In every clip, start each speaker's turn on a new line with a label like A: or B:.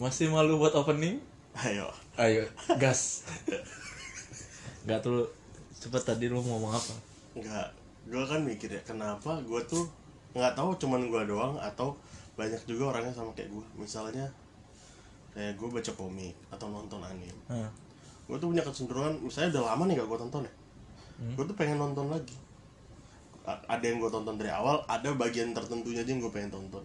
A: Masih malu buat opening?
B: Ayo.
A: Ayo, gas. Gak tuh cepet tadi lu mau ngomong apa?
B: Enggak. Gue kan mikir ya kenapa gue tuh nggak tahu cuman gue doang atau banyak juga orangnya sama kayak gue. Misalnya kayak gue baca komik atau nonton anime.
A: Hah.
B: Gue tuh punya kecenderungan misalnya udah lama nih gak gue tonton ya. Gue tuh pengen nonton lagi. A- ada yang gue tonton dari awal, ada bagian tertentunya aja yang gue pengen tonton.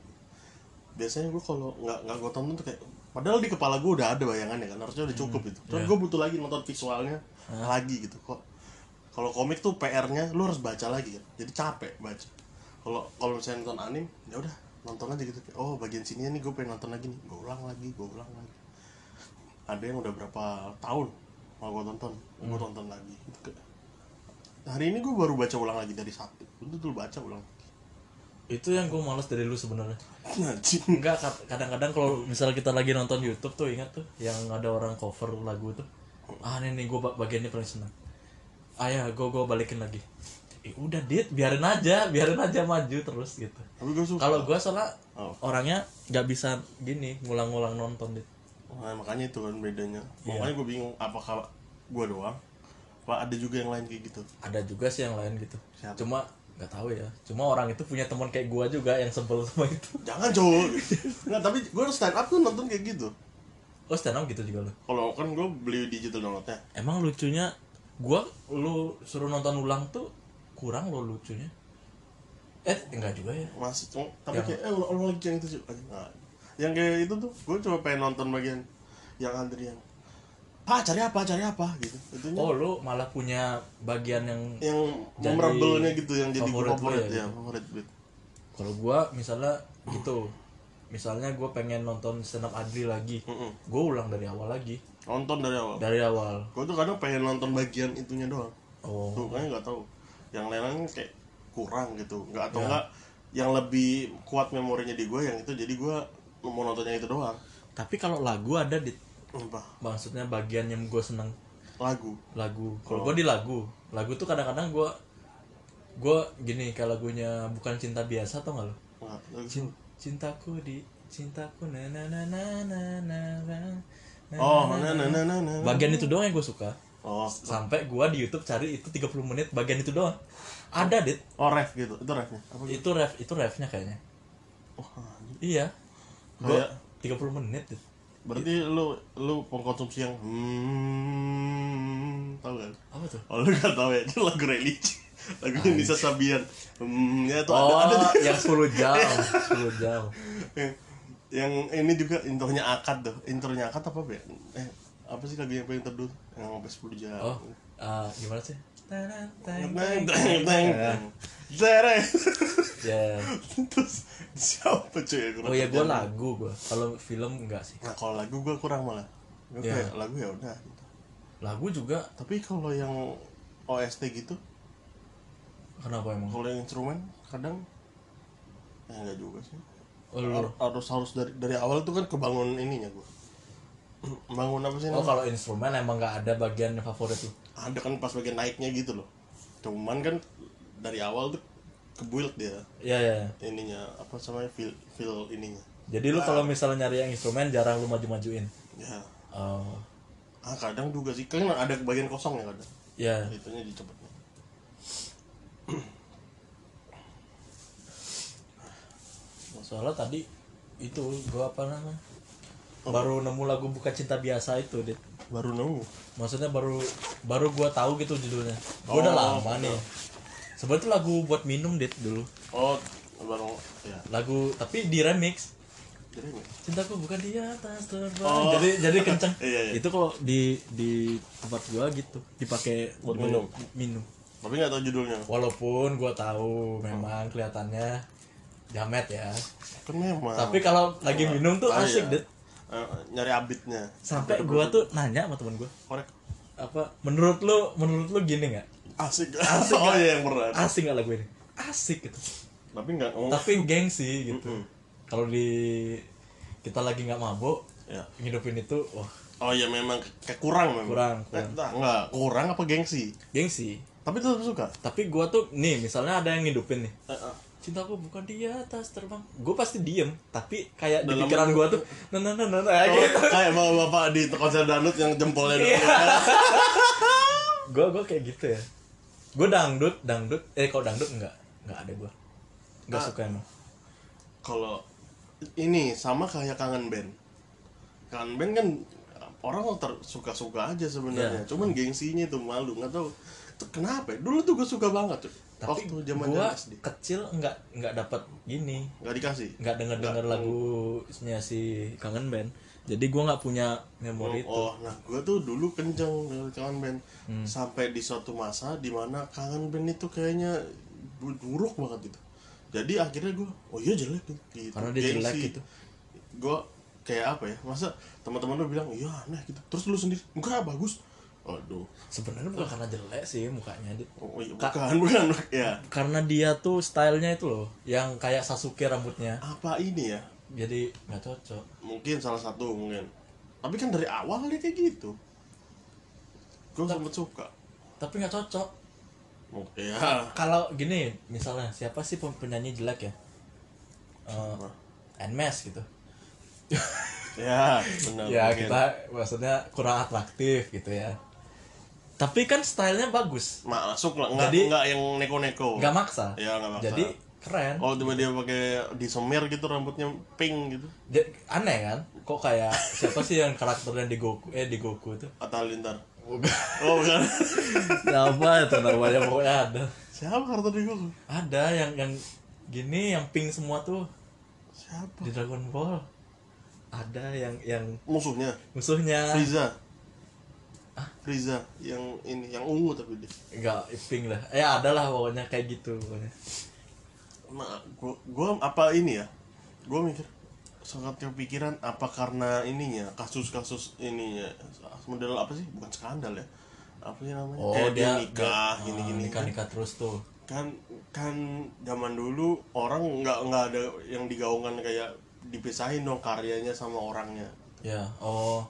B: Biasanya gue kalau nggak nggak gue tonton tuh kayak padahal di kepala gue udah ada bayangannya kan harusnya udah cukup gitu. Terus
A: Iya.
B: gue butuh lagi nonton visualnya lagi gitu kok. Kalau komik tuh PR-nya lu harus baca lagi kan. Jadi capek baca. Kalau kalau misalnya nonton anime, ya udah nonton aja gitu. Kayak, Oh, bagian sininya nih gue pengen nonton lagi nih. Gue ulang lagi, gue ulang lagi. Ada yang udah berapa tahun mau gue tonton, gue tonton lagi. Gitu kayak. Hari ini gue baru baca ulang lagi dari satu. Itu dulu baca ulang.
A: Itu yang gue males dari lu sebenarnya.
B: Anjing.
A: Enggak, kad- kadang-kadang kalau misal kita lagi nonton YouTube tuh ingat tuh yang ada orang cover lagu tuh. Ah, ini nih gue bagiannya paling seneng. Ah ya, gue gue balikin lagi. Eh, udah dit, biarin aja, biarin aja maju terus gitu.
B: Tapi gue suka.
A: Kalau gue soalnya
B: Oh.
A: orangnya nggak bisa gini ngulang-ngulang nonton dit.
B: Nah, makanya itu kan bedanya. Makanya gue bingung apakah gue doang apa ada juga yang lain kayak gitu.
A: Ada juga sih yang lain gitu.
B: Siapa?
A: Cuma nggak tahu ya. Cuma orang itu punya teman kayak gue juga yang sebel sama itu.
B: Jangan cowok. Nggak, tapi gue stand up tuh nonton kayak gitu.
A: Oh stand up gitu juga lo.
B: Kalau kan gue beli digital downloadnya
A: Emang lucunya gua lu suruh nonton ulang tuh kurang lo lucunya. Eh enggak juga ya.
B: masih cuma tapi
A: Yang-
B: kayak eh ulang ulang lagi yang itu Cuk. Anjing, nggak. yang kayak itu tuh gue cuma pengen nonton bagian yang antrian ah cari apa cari apa gitu itunya
A: Oh lu malah punya bagian yang
B: yang
A: Jadi
B: memorable-nya gitu yang jadi
A: favorit
B: favorit,
A: lu
B: favorit
A: ya,
B: ya,
A: gitu.
B: favorit gitu.
A: kalau gua misalnya gitu. Misalnya gua pengen nonton stand up Adli lagi.
B: Mm-mm.
A: Gua ulang dari awal lagi.
B: nonton dari awal
A: Dari awal.
B: gue tuh kadang pengen nonton bagian itunya doang
A: Oh.
B: tuh kayaknya nggak tahu yang lain-lain kayak kurang gitu nggak
A: Ya.
B: atau nggak yang lebih kuat memorinya di gue yang itu jadi gue mau nontonnya itu doang
A: Tapi kalau lagu ada di
B: apa
A: maksudnya bagian yang gua seneng
B: lagu
A: lagu. Kalau
B: Oh.
A: gua di lagu. Lagu tuh kadang-kadang gua gua gini kayak lagunya bukan cinta biasa tau gak lo?
B: Nggak, lagu
A: Cin- cintaku di cintaku na na na na na na na na.
B: Oh, nah, nah, nah, nah, nah.
A: bagian itu doang yang gue suka
B: Oh,
A: sampai gua di YouTube cari itu 30 menit bagian itu doang ada dit
B: oh ref gitu. Itu refnya. Apa gitu?
A: itu ref itu refnya kayaknya
B: Oh, anjing.
A: iya gua
B: Kayak-
A: 30 menit dit.
B: berarti lu lu mengkonsumsi yang hmm, tahu kan?
A: apa tuh
B: Oh, lu gak tahu ya? Itu lagu religi. Lagunya Nisa Sabian. Hmm, ya itu
A: oh
B: ada ada tuh.
A: yang 10 jam 10 jam
B: Yang- yang ini juga intronya akad tuh. Intronya akad apa ya? Eh, apa sih lagu yang paling terdur? Yang sampai 10 jam.
A: oh eh, gimana sih Tanan, tang, tang.
B: Teng, teng, teng.
A: Iya.
B: Zere.
A: Ya.
B: Terus siapa cuy yang
A: oh ya gua
B: ngerti?
A: lagu gua kalau film enggak sih
B: Nah kalau lagu gue kurang malah. Gue
A: Ya.
B: kayak lagu ya udah. Gitu.
A: lagu juga
B: Tapi kalau yang OST gitu,
A: kenapa emang
B: kalau yang instrumen kadang ya enggak juga sih.
A: Oh, lu-
B: Har- harus harus dari dari awal tuh kan kebangun ininya gue. Bangun apa sih?
A: Oh
B: namanya?
A: kalau instrumen emang nggak ada bagian yang favorit lu.
B: Ada kan pas bagian naiknya gitu loh. Cuman kan dari awal tuh kebuild dia
A: Iya iya. iya.
B: ininya apa namanya feel feel ininya.
A: Jadi lu kalau misalnya nyari yang instrumen jarang lu maju-majuin.
B: Ya.
A: Oh.
B: Ah kadang juga sih kan ada bagian kosong ya kadang.
A: Iya.
B: itunya dicepetnya
A: Soalnya tadi itu gua apa namanya? Baru nemu lagu buka cinta biasa itu, Dit.
B: baru nemu
A: Maksudnya baru baru gua tahu gitu judulnya. Gua udah
B: Oh,
A: lama nih. Sebenarnya itu lagu buat minum, Dit, dulu.
B: oh baru ya
A: Lagu tapi di remix.
B: jadi
A: Cintaku bukan di atas terbang.
B: Oh.
A: Jadi jadi kenceng.
B: Iya, iya.
A: Itu kalau di di tempat gua gitu dipakai
B: Buat
A: dulu-
B: minum.
A: Minum.
B: tapi nggak tahu judulnya
A: Walaupun gua tahu memang kelihatannya jamet ya.
B: kan memang
A: Tapi kalau lagi minum tuh
B: Ah,
A: asik,
B: iya.
A: Dit.
B: Eh, nyari abitnya
A: Sampai gua tuh nanya sama temen gua,
B: korek
A: apa menurut lu menurut lu gini nggak?
B: asik asik oh iya yang berat
A: Asik nggak lagu ini? Asik gitu.
B: tapi nggak ngomong
A: Tapi gengsi gitu.
B: Oh. Mm-mm.
A: Kalau di kita lagi nggak mabuk,
B: ya
A: ngidupin itu wah
B: oh iya memang kayak kurang memang
A: Kurang,
B: Eh,
A: kurang.
B: nah, nggak kurang apa gengsi
A: gengsi.
B: tapi tetap suka
A: Tapi gua tuh nih misalnya ada yang ngidupin nih.
B: Eh, eh.
A: cintaku bukan di atas terbang gue pasti diem tapi kayak di
B: Dalam
A: pikiran gue tuh nah nah nah nah, nah gitu
B: Eh, oh, kayak mau bapak di konser dangdut yang jempolnya
A: Iya.
B: dulu
A: gue gue kayak gitu ya gue dangdut dangdut eh kalau dangdut enggak enggak ada gue enggak
B: Ah.
A: suka emang
B: kalau ini sama kayak kangen band kangen band kan orang ter- suka-suka aja
A: Iya.
B: sebenarnya cuman gengsinya itu malu nggak tahu itu kenapa ya? dulu tuh gue suka banget tuh
A: tapi
B: waktu zaman
A: gue
B: SD
A: kecil enggak enggak dapat gini
B: nggak dikasih
A: enggak denger denger lagunya si kangen band jadi gue nggak punya memori itu
B: Oh, nah gue tuh dulu kenceng dengan kangen band
A: Hmm.
B: sampai di suatu masa dimana kangen band itu kayaknya bu- buruk banget gitu. Jadi akhirnya gue, oh iya jelek gitu.
A: Karena dia jelek gitu.
B: Gue kayak apa ya? Masa teman-teman lu bilang iya aneh gitu. Terus lu sendiri, enggak bagus. Aduh,
A: sebenarnya bukan karena jelek sih mukanya Dit.
B: oh, iya,
A: Ka-
B: bukan bukan ya.
A: karena dia tuh stylenya itu loh yang kayak Sasuke rambutnya
B: Apa ini ya?
A: jadi nggak cocok
B: Mungkin salah satu mungkin. Tapi kan dari awal dia kayak gitu. Gue sempet suka.
A: tapi nggak cocok
B: Oh, Iya.
A: kalau gini misalnya siapa sih pem- penyanyi jelek ya Eh, Nmes gitu
B: Ya, benar.
A: ya
B: mungkin.
A: kita maksudnya kurang atraktif gitu ya tapi kan stylenya bagus
B: Mak masuk lah, nggak
A: Jadi-
B: nggak yang neko-neko.
A: nggak maksa
B: Iya, nggak maksa. Oh.
A: jadi keren
B: Kalau cuma dia pakai disemir gitu rambutnya pink gitu,
A: Ja- aneh kan kok kayak siapa sih yang karakternya di Goku eh di Goku tuh
B: atau lintar. Oh bukan.
A: Siapa itu namanya pokoknya ada
B: Siapa kartu di Goku?
A: ada yang yang gini yang pink semua tuh
B: Siapa?
A: di Dragon Ball ada yang yang
B: Musuhnya
A: musuhnya
B: Frieza. Frieza yang ini yang ungu tapi dia.
A: enggak pink lah ya ada lah pokoknya kayak gitu pokoknya
B: Nah, gua, gua apa ini ya? Gua mikir sangat kepikiran apa karena ininya kasus-kasus ininya model apa sih bukan skandal ya apa sih namanya
A: Oh,
B: Kayak Oh, nikah
A: ah,
B: gini-gini
A: nikah nikah terus tuh
B: kan kan zaman dulu orang nggak nggak ada yang digaungkan kayak dipisahin dong karyanya sama orangnya
A: ya oh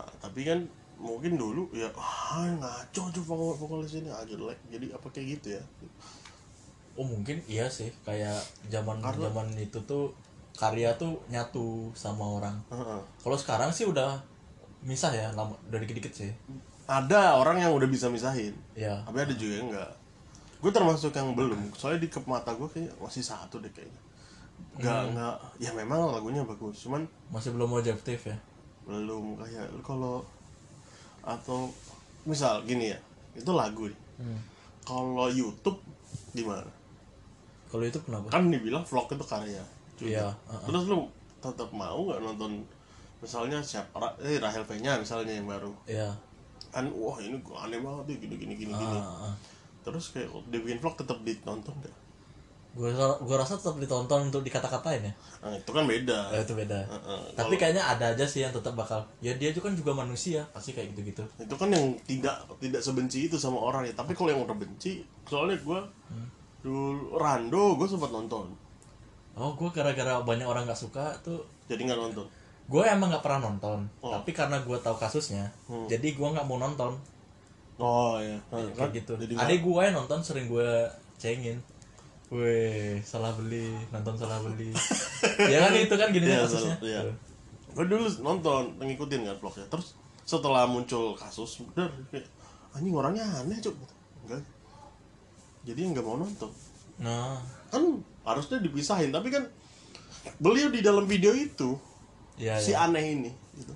B: nah, tapi kan mungkin dulu ya ah ngaco tuh vokal vokalis ini aja jelek jadi apa kayak gitu ya
A: oh mungkin iya sih kayak zaman
B: Karena-
A: zaman itu tuh karya tuh nyatu sama orang
B: Heeh.
A: kalau sekarang sih udah misah ya lama udah dikit dikit sih
B: ada orang yang udah bisa misahin
A: ya
B: tapi ada juga yang nggak gue termasuk yang belum soalnya di kepemata gue kayak masih satu deh kayaknya nggak nggak ya memang lagunya bagus cuman
A: masih belum objektif ya
B: belum kayak lu kalau atau misal gini ya itu lagu nih
A: Hmm.
B: kalau YouTube gimana
A: kalau itu kenapa
B: kan dibilang vlog itu karya juga.
A: Iya, uh-uh.
B: terus lu tetap mau nggak nonton misalnya siapa Ra- eh Rahel Fenya misalnya yang baru
A: ya
B: kan wah ini kok aneh banget ya gini gini gini gini
A: ah, ah.
B: terus kayak kalau dia bikin vlog tetap ditonton deh
A: gua ra- gua rasa tetap ditonton untuk dikata-katain ya
B: nah, itu kan beda
A: Eh, itu beda
B: Heeh,
A: tapi kayaknya ada aja sih yang tetap bakal ya dia juga kan juga manusia pasti kayak gitu gitu
B: itu kan yang tidak tidak sebenci itu sama orang ya tapi kalau yang udah benci soalnya gue dulu Rando gue sempat nonton
A: oh gua gara-gara banyak orang nggak suka tuh
B: jadi nggak nonton
A: gue emang nggak pernah nonton
B: Oh.
A: tapi karena gua tahu kasusnya
B: Hmm.
A: jadi gua nggak mau nonton
B: oh ya
A: kayak gitu
B: jadi
A: adik gue yang nonton sering gua cengin Weh, salah beli, nonton salah beli. ya kan itu kan gini
B: Iya,
A: kasusnya.
B: salah, iya. gue dulu nonton ngikutin kan vlognya terus setelah muncul kasus bener kayak anjing orangnya aneh cuk enggak jadi nggak mau nonton
A: Nah,
B: kan harusnya dipisahin tapi kan beliau di dalam video itu
A: ya,
B: si
A: ya.
B: aneh ini gitu.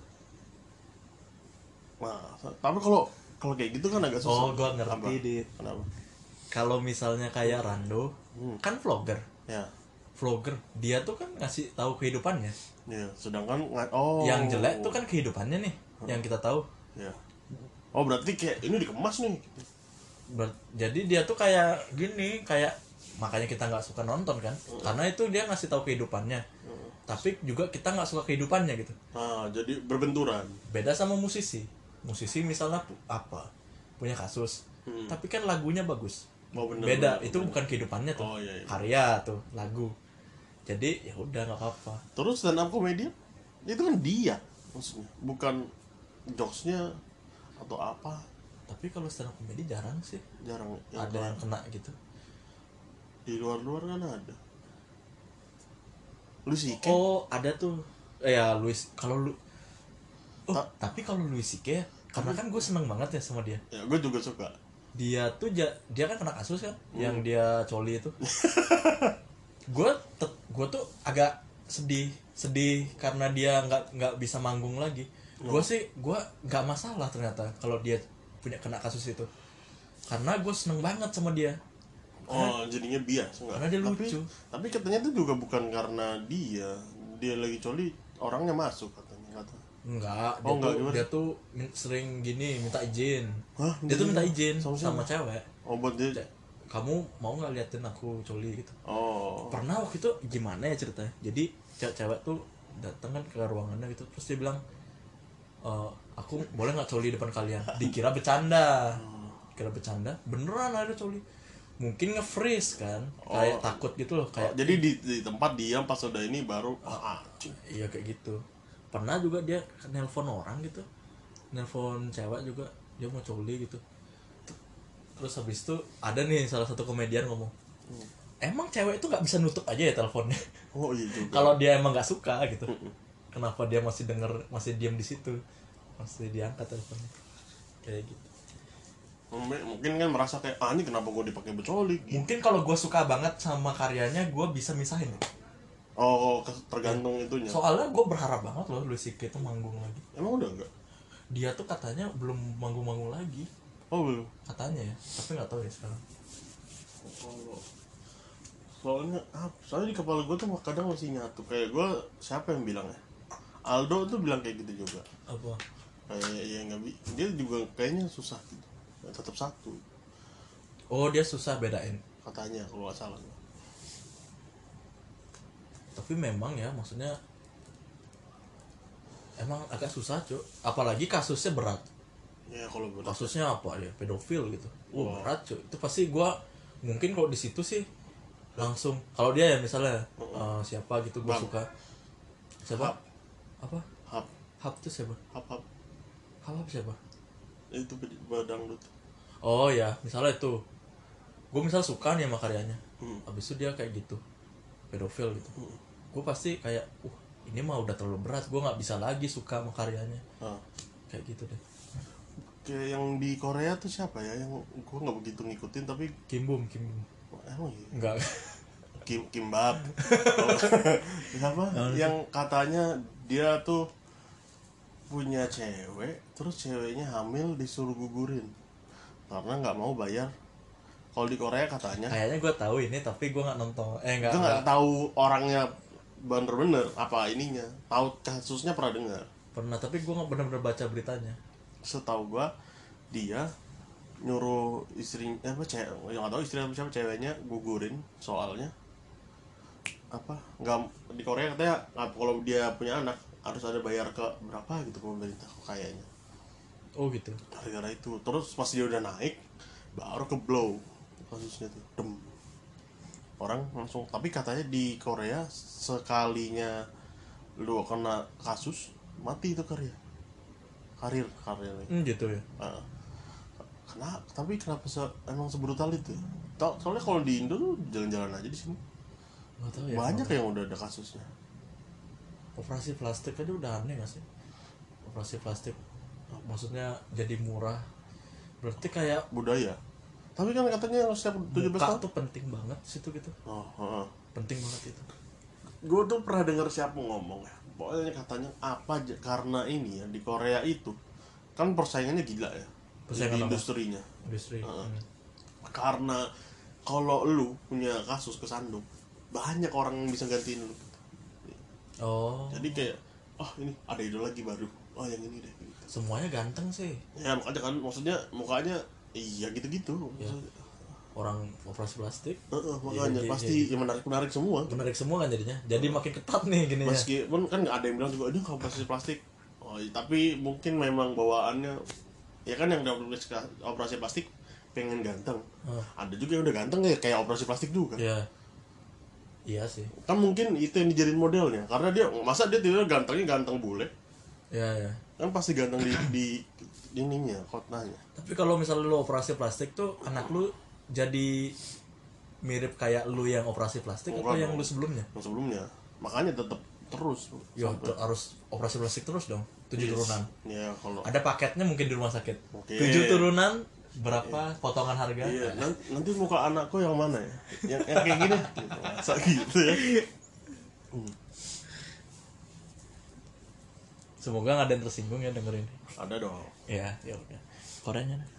B: Nah, tapi kalau kalau kayak gitu kan agak susah.
A: Oh, gua ngerti,
B: Apa?
A: Dit.
B: Kenapa?
A: Kalau misalnya kayak Rando,
B: Hmm.
A: kan vlogger.
B: Ya.
A: Vlogger, dia tuh kan ngasih tahu kehidupannya.
B: Ya, sedangkan nga- oh
A: yang jelek tuh kan kehidupannya nih yang kita tahu
B: Ya. Oh, berarti kayak ini dikemas nih.
A: Ber- jadi dia tuh kayak gini kayak makanya kita nggak suka nonton kan karena itu dia ngasih tahu kehidupannya tapi juga kita nggak suka kehidupannya gitu
B: Nah, jadi berbenturan.
A: beda sama musisi musisi misalnya pu- apa punya kasus tapi kan lagunya bagus
B: Hmm. Oh, bener,
A: beda
B: bener,
A: itu bukan kehidupannya tuh
B: Oh, iya, iya.
A: karya tuh lagu jadi ya udah nggak apa-apa
B: Terus stand up comedian itu kan dia maksudnya, bukan jokesnya atau apa Ya,
A: tapi kalau stand up comedy jarang sih
B: jarang
A: ada yang kena gitu
B: di luar-luar kan ada lu sih kan
A: Oh, ada tuh. Eh, ya Luis, kalau lu Oh,
B: Ta-
A: tapi kalau Luis CK karena kan gue seneng banget ya sama dia.
B: ya gue juga suka
A: Dia tuh ja- dia kan kena kasus kan,
B: Hmm.
A: yang dia coli itu. gue gue tuh agak sedih, sedih karena dia nggak nggak bisa manggung lagi.
B: Oh.
A: Gue sih gue nggak masalah ternyata kalau dia punya kena kasus itu. Karena gue seneng banget sama dia.
B: oh jadinya bias enggak
A: karena dia
B: tapi
A: lucu.
B: tapi katanya itu juga bukan karena dia dia lagi coli orangnya masuk katanya kata
A: Enggak, dia,
B: Oh, enggak,
A: tuh,
B: gimana?
A: dia tuh min- sering gini minta izin.
B: Hah?
A: Dia tuh minta
B: Minta
A: izin
B: izin?
A: sama,
B: Sama siapa?
A: cewek.
B: obat Oh, dia
A: Cek, Kamu mau nggak liatin aku coli gitu?
B: oh
A: Pernah waktu itu gimana ya ceritanya? Jadi ce- cewek tuh datang kan ke ruangannya gitu, terus dia bilang, e, aku boleh nggak coli depan kalian? Dikira bercanda, kira bercanda. Beneran ada coli. Mungkin nge-freeze kan, kayak
B: Oh.
A: takut gitu loh,
B: Oh,
A: kayak
B: jadi di, di tempat diam pas udah ini baru ah anjing.
A: Iya kayak gitu. Pernah juga dia nelpon orang gitu. Nelpon cewek juga, dia mau coli gitu. Terus habis itu ada nih salah satu komedian ngomong, "Emang cewek itu nggak bisa nutup aja ya teleponnya?
B: Oh iya juga.
A: Kalau dia emang nggak suka gitu. Kenapa dia masih denger, masih diam di situ? Masih diangkat teleponnya." Kayak gitu.
B: M- Mungkin kan merasa kayak ah ini kenapa gue dipakai becoli gitu.
A: Mungkin kalau gue suka banget sama karyanya, gue bisa misahin.
B: Oh, ke- tergantung itunya.
A: Soalnya gue berharap banget loh Louis C.K. itu manggung lagi.
B: Emang udah enggak?
A: Dia tuh katanya belum manggung-manggung lagi.
B: Oh, belum.
A: katanya ya tapi nggak tahu ya sekarang
B: Kalau soalnya ah, soalnya di kepala gue tuh kadang masih nyatu kayak gue siapa yang bilang ya Aldo tuh bilang kayak gitu juga
A: apa
B: kayak ya nggak bi- dia juga kayaknya susah gitu Ya, tetap satu
A: oh dia susah bedain
B: katanya kalau nggak salah
A: tapi memang ya maksudnya emang agak susah cuk apalagi kasusnya berat
B: ya kalau berat
A: kasusnya apa ya pedofil gitu
B: Wah.
A: wah berat cuk itu pasti gua mungkin kalau di situ sih langsung kalau dia ya misalnya eh, siapa gitu gua
B: Bang.
A: suka siapa
B: Hap.
A: apa
B: hap
A: hap tuh siapa
B: hap hap
A: hap, hap siapa
B: itu bed- badang lu tuh.
A: Oh ya, misalnya itu. Gue misalnya suka nih sama karyanya.
B: Hmm.
A: Habis itu dia kayak gitu. Pedofil gitu. Gue pasti kayak, uh, ini mah udah terlalu berat. Gue nggak bisa lagi suka sama karyanya.
B: Ah.
A: Kayak gitu deh.
B: kayak yang di Korea tuh siapa ya yang gue nggak begitu ngikutin tapi
A: Kimbum, Kimbum.
B: emang iya
A: Enggak.
B: Kim Kimbab siapa yang katanya dia tuh punya cewek terus ceweknya hamil disuruh gugurin karena nggak mau bayar kalau di Korea katanya
A: Kayaknya gue tahu ini tapi gue nggak nonton. Eh nggak.
B: itu nggak
A: nggak
B: tahu orangnya bener-bener apa ininya tahu kasusnya pernah dengar
A: Pernah tapi gue nggak benar-benar baca beritanya.
B: setahu gua dia nyuruh istrinya apa cewek yang nggak tahu istri apa siapa ceweknya gugurin soalnya apa nggak di Korea katanya nggak- kalau dia punya anak harus ada bayar ke berapa gitu ke pemerintah kayaknya
A: Oh gitu.
B: gara-gara itu terus pas dia udah naik baru ke blow kasusnya tuh dem orang langsung tapi katanya di Korea sekalinya lu kena kasus mati itu karir karir karirnya
A: Hmm, gitu ya.
B: Ah. kenapa tapi kenapa se- emang sebrutal itu ya? Tau- soalnya kalau di Indo tuh jalan-jalan aja di sini
A: Nggak tahu ya.
B: banyak yang udah ada kasusnya
A: Operasi plastik aja udah aneh nggak sih? Operasi plastik maksudnya jadi murah. Berarti kayak
B: budaya tapi kan katanya harus setiap 17
A: muka
B: tahun
A: tuh penting banget situ gitu.
B: oh, heeh.
A: penting banget itu
B: gue tuh pernah dengar siapa ngomong ya pokoknya katanya apa aja karena ini ya di Korea itu kan persaingannya gila ya
A: Persaingan
B: di
A: apa?
B: industrinya
A: industri
B: Ah.
A: Hmm.
B: karena kalau lu punya kasus kesandung banyak orang yang bisa gantiin lu
A: oh
B: jadi kayak oh ini ada ide lagi baru oh yang ini deh
A: semuanya ganteng sih
B: ya makanya kan maksudnya mukanya iya gitu-gitu Maksudnya,
A: orang operasi plastik
B: eh, eh,
A: Iya,
B: makanya
A: iya,
B: pasti yang menarik-menarik semua
A: menarik semua kan jadinya jadi makin ketat nih gini ya
B: meskipun kan nggak ada yang bilang juga dia nggak operasi plastik oh, iya, tapi mungkin memang bawaannya ya kan yang udah operasi, operasi plastik pengen ganteng
A: Hah.
B: ada juga yang udah ganteng ya kayak operasi plastik juga
A: ya iya sih
B: kan mungkin itu yang dijadiin modelnya karena dia masa dia tidak gantengnya ganteng bule
A: ya ya
B: kan pasti ganteng di, di, di ininya kotanya
A: tapi kalau misalnya lu operasi plastik tuh anak lu jadi mirip kayak lu yang operasi plastik atau
B: Bukan,
A: yang
B: Bang.
A: lu sebelumnya?
B: yang sebelumnya makanya tetap terus
A: Yo, tuh harus operasi plastik terus dong. Tujuh
B: Yes.
A: Iya, turunan.
B: ya kalau
A: Ada paketnya mungkin di rumah sakit.
B: Oke.
A: Tujuh turunan berapa potongan harga?
B: Iya, nan- nanti muka anakku yang mana ya? Yang, yang kayak gini, gitu. masa gitu ya?
A: Semoga nggak ada yang tersinggung ya dengerin.
B: Ada dong.
A: Ya, ya udah. Koreanya. dah.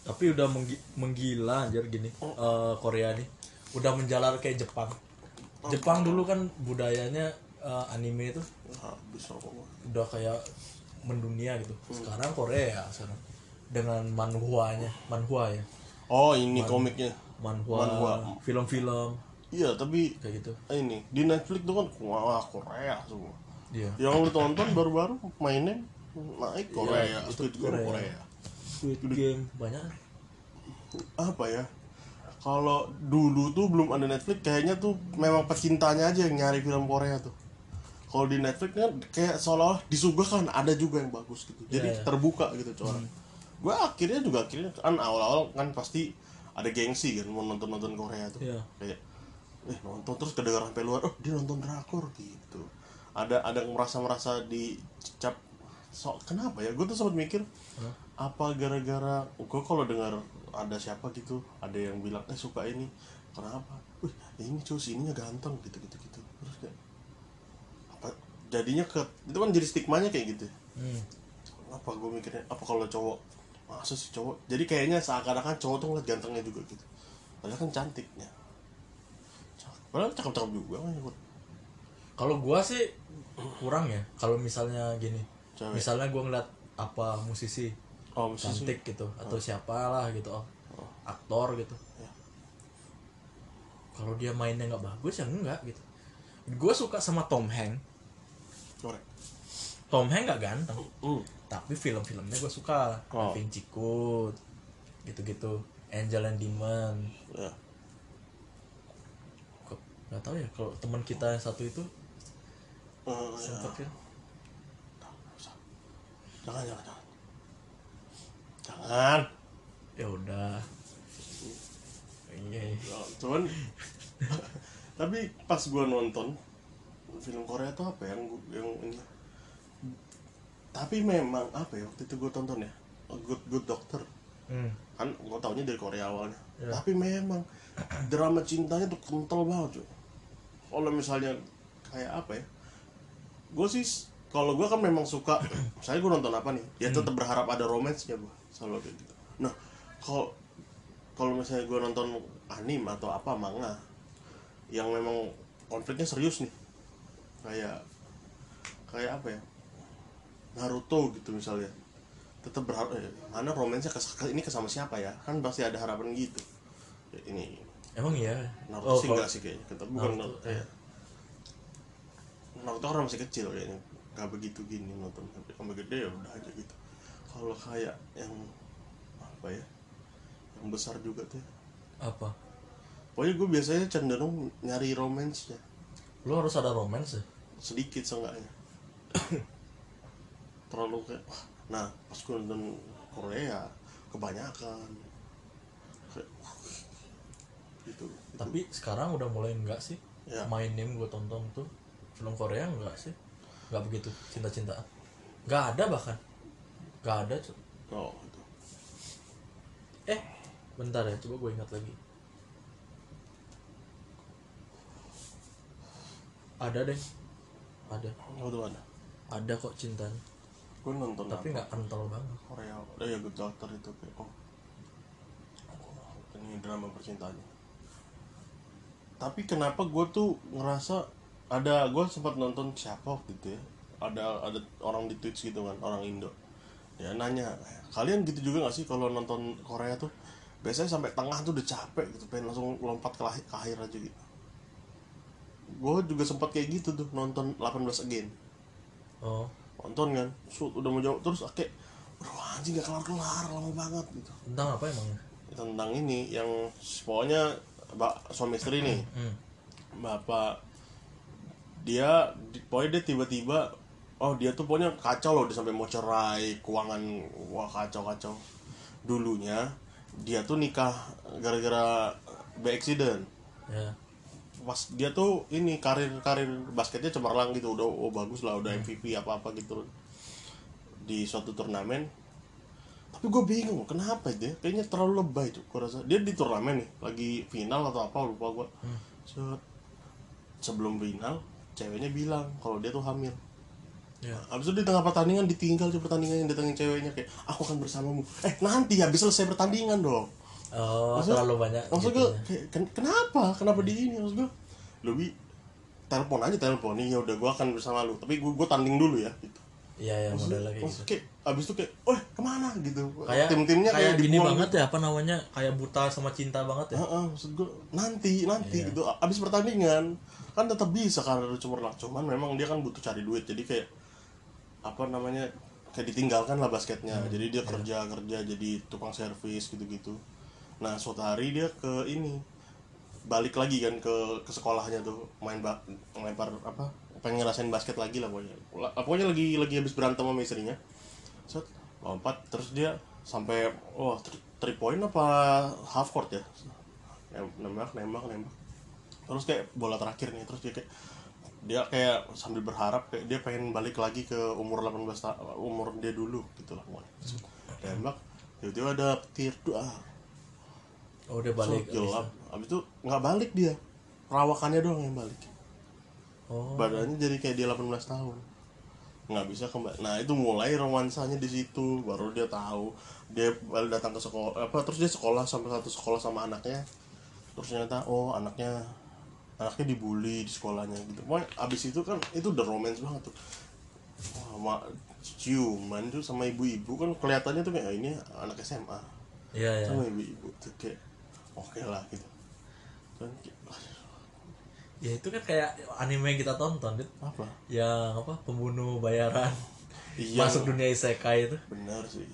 A: Tapi udah menggi- menggila anjir gini eh, Korea nih. Udah menjalar kayak Jepang. Jepang dulu kan budayanya eh, anime itu
B: Habis rokok gua.
A: udah kayak mendunia gitu. Sekarang Korea sekarang dengan manhwanya, manhwa ya.
B: Oh, ini komiknya.
A: Manhwa,
B: Manhwa.
A: film-film
B: Iya, tapi
A: kayak gitu.
B: ini di Netflix tuh kan wah Korea semua.
A: Iya.
B: Yang lu tonton baru-baru mainnya naik Korea,
A: itu
B: Squid Game
A: Korea.
B: Iya, Korea.
A: Squid Game banyak.
B: Apa ya? Kalau dulu tuh belum ada Netflix, kayaknya tuh memang pecintanya aja yang nyari film Korea tuh. Kalau di Netflix kan kayak seolah-olah disuguhkan ada juga yang bagus gitu. Jadi
A: Iya, iya.
B: terbuka gitu coran. Gua akhirnya juga akhirnya kan awal-awal kan pasti ada gengsi kan mau nonton-nonton Korea tuh.
A: Iya.
B: Kayak eh nonton terus kedengaran sampai luar, oh dia nonton drakor gitu. Ada ada yang merasa-merasa dicap sok kenapa ya? Gue tuh sempat mikir apa gara-gara gue kalau dengar ada siapa gitu, ada yang bilang eh suka ini, kenapa? Wih, ini cowok sininya ganteng gitu gitu gitu. Terus kayak apa jadinya ke itu kan jadi stigmanya kayak gitu
A: Hmm.
B: apa gue mikirnya apa kalau cowok masa sih cowok jadi kayaknya seakan-akan cowok tuh ngeliat gantengnya juga gitu padahal kan cantiknya Cakep. padahal cakep-cakep juga kan ikut
A: Kalau gua sih kurang ya. Kalau misalnya gini,
B: Cewek.
A: misalnya gua ngeliat apa musisi
B: oh mesti sih
A: cantik gitu atau siapalah gitu, oh, aktor gitu.
B: Ya.
A: Kalau dia mainnya nggak bagus ya enggak gitu. Gua suka sama Tom Hanks.
B: corek
A: Tom Hanks nggak ganteng,
B: hmm.
A: tapi film-filmnya gua suka.
B: Oh.
A: Loving Cikut, gitu-gitu. Angel and Demon.
B: ya
A: Kok- Nggak tahu ya kalau teman kita yang satu itu
B: Eh, ya.
A: sempet kan
B: jangan jangan jangan jangan
A: ya udah iya
B: Ya, cuman tapi pas gua nonton film Korea tuh apa yang gua- yang ini tapi memang apa ya waktu itu gua tonton ya A Good Good Doctor
A: hmm.
B: kan gua taunya dari Korea awalnya
A: Ya.
B: tapi memang drama cintanya tuh kental banget cuy kalau misalnya kayak apa ya gue sih s- kalau gua kan memang suka misalnya gua nonton apa nih ya tetap berharap ada romansnya gue selalu kayak gitu nah kalau kalau misalnya gua nonton anime atau apa manga yang memang konfliknya serius nih kayak kayak apa ya Naruto gitu misalnya tetap berharap eh, mana romansnya kes- ke- ini ke sama siapa ya kan pasti ada harapan gitu Ya, ini
A: emang iya
B: Naruto sih
A: kalau-
B: enggak sih kayaknya Kita- bukan
A: Naruto, iya.
B: Naruto, kayak Naruto orang masih kecil kayaknya nggak begitu gini nonton sampai sampai gede ya udah aja gitu kalau kayak yang apa ya yang besar juga tuh ya.
A: apa
B: pokoknya gue biasanya cenderung nyari romansnya
A: lu harus ada romance ya
B: sedikit seenggaknya terlalu kayak wah, nah pas gue nonton Korea ya kebanyakan kayak, wah, gitu
A: tapi sekarang udah mulai enggak sih
B: Ya.
A: My Name gue tonton tuh film Korea enggak sih enggak begitu cinta-cintaan enggak ada bahkan enggak ada cu-
B: oh gitu
A: eh bentar ya coba gue ingat lagi ada deh ada
B: oh tuh ada
A: ada kok cintanya
B: gue nonton
A: tapi nggak kental banget
B: Korea eh ya Good Doctor itu kayak oh ini drama percintaan tapi kenapa gue tuh ngerasa ada gue sempat nonton siapa waktu itu ya ada ada orang di Twitch gitu kan orang Indo ya nanya kalian gitu juga gak sih kalau nonton Korea tuh biasanya sampai tengah tuh udah capek gitu pengen langsung lompat ke, lahi- ke akhir aja gitu gue juga sempat kayak gitu tuh nonton 18 again
A: oh
B: nonton kan shoot udah mau jawab terus kayak aduh anjing gak kelar kelar lama banget gitu
A: tentang apa emangnya
B: tentang ini yang pokoknya bak suami istri nih
A: hmm.
B: bapak dia di- pokoknya dia tiba-tiba oh dia tuh pokoknya kacau loh dia sampai mau cerai keuangan wah kacau kacau dulunya dia tuh nikah gara-gara by accident
A: ya
B: pas dia tuh ini karir karir basketnya cemerlang gitu udah oh bagus lah udah MVP apa apa gitu di suatu turnamen tapi gue bingung kenapa ya dia kayaknya terlalu lebay tuh gue rasa dia di turnamen nih lagi final atau apa lupa gue Set. sebelum final ceweknya bilang kalau dia tuh hamil
A: ya
B: Abis itu di tengah pertandingan ditinggal di pertandingan yang datangin ceweknya kayak aku akan bersamamu. Eh nanti habis selesai pertandingan dong.
A: oh
B: Maksud-
A: terlalu banyak
B: Maksud
A: gitu
B: gue kayak, "Ken- kenapa? Kenapa di ini? Maksud gue lebih telepon aja telepon nih ya udah gue akan bersama lu tapi gue gue tanding dulu ya gitu.
A: ya ya
B: Maksud-
A: modelnya kayak gitu
B: maksud kayak abis itu kayak, wah kemana gitu.
A: kayak
B: Tim-timnya kayak,
A: gini
B: dibuang
A: banget ya apa namanya kayak buta sama cinta banget ya
B: Heeh, maksud gue nanti nanti
A: Iya.
B: gitu abis pertandingan kan tetap bisa karir cemerlang cuman memang dia kan butuh cari duit jadi kayak apa namanya kayak ditinggalkan lah basketnya
A: Hmm, iya.
B: jadi dia kerja kerja jadi tukang servis gitu gitu nah suatu hari dia ke ini balik lagi kan ke ke sekolahnya tuh main bak lempar apa pengen ngerasain basket lagi lah pokoknya La- pokoknya lagi lagi habis berantem sama istrinya set lompat terus dia sampai oh thr- three point apa half court ya Nem- nembak nembak nembak terus kayak bola terakhir nih terus dia kayak dia kayak sambil berharap kayak dia pengen balik lagi ke umur 18 ta- umur dia dulu gitu lah pokoknya Terus nembak tiba-tiba ada petir doang
A: oh udah balik abis itu.
B: gelap abis itu nggak balik dia rawakannya doang yang balik
A: oh
B: badannya jadi kayak dia 18 tahun nggak bisa kembali nah itu mulai romansanya di situ baru dia tahu dia baru datang ke sekolah apa terus dia sekolah sampai satu sekolah sama anaknya terus ternyata oh anaknya anaknya dibully di sekolahnya gitu Pokoknya abis itu kan itu udah romance banget tuh Wah, ma- ciuman tuh sama ibu-ibu kan kelihatannya tuh kayak "Ah, ini anak SMA
A: iya ya
B: sama ibu-ibu tuh kayak oke lah gitu dan kayak,
A: ya itu kan kayak anime yang kita tonton Dit.
B: apa
A: yang apa pembunuh bayaran
B: Iya.
A: masuk dunia isekai itu
B: benar sih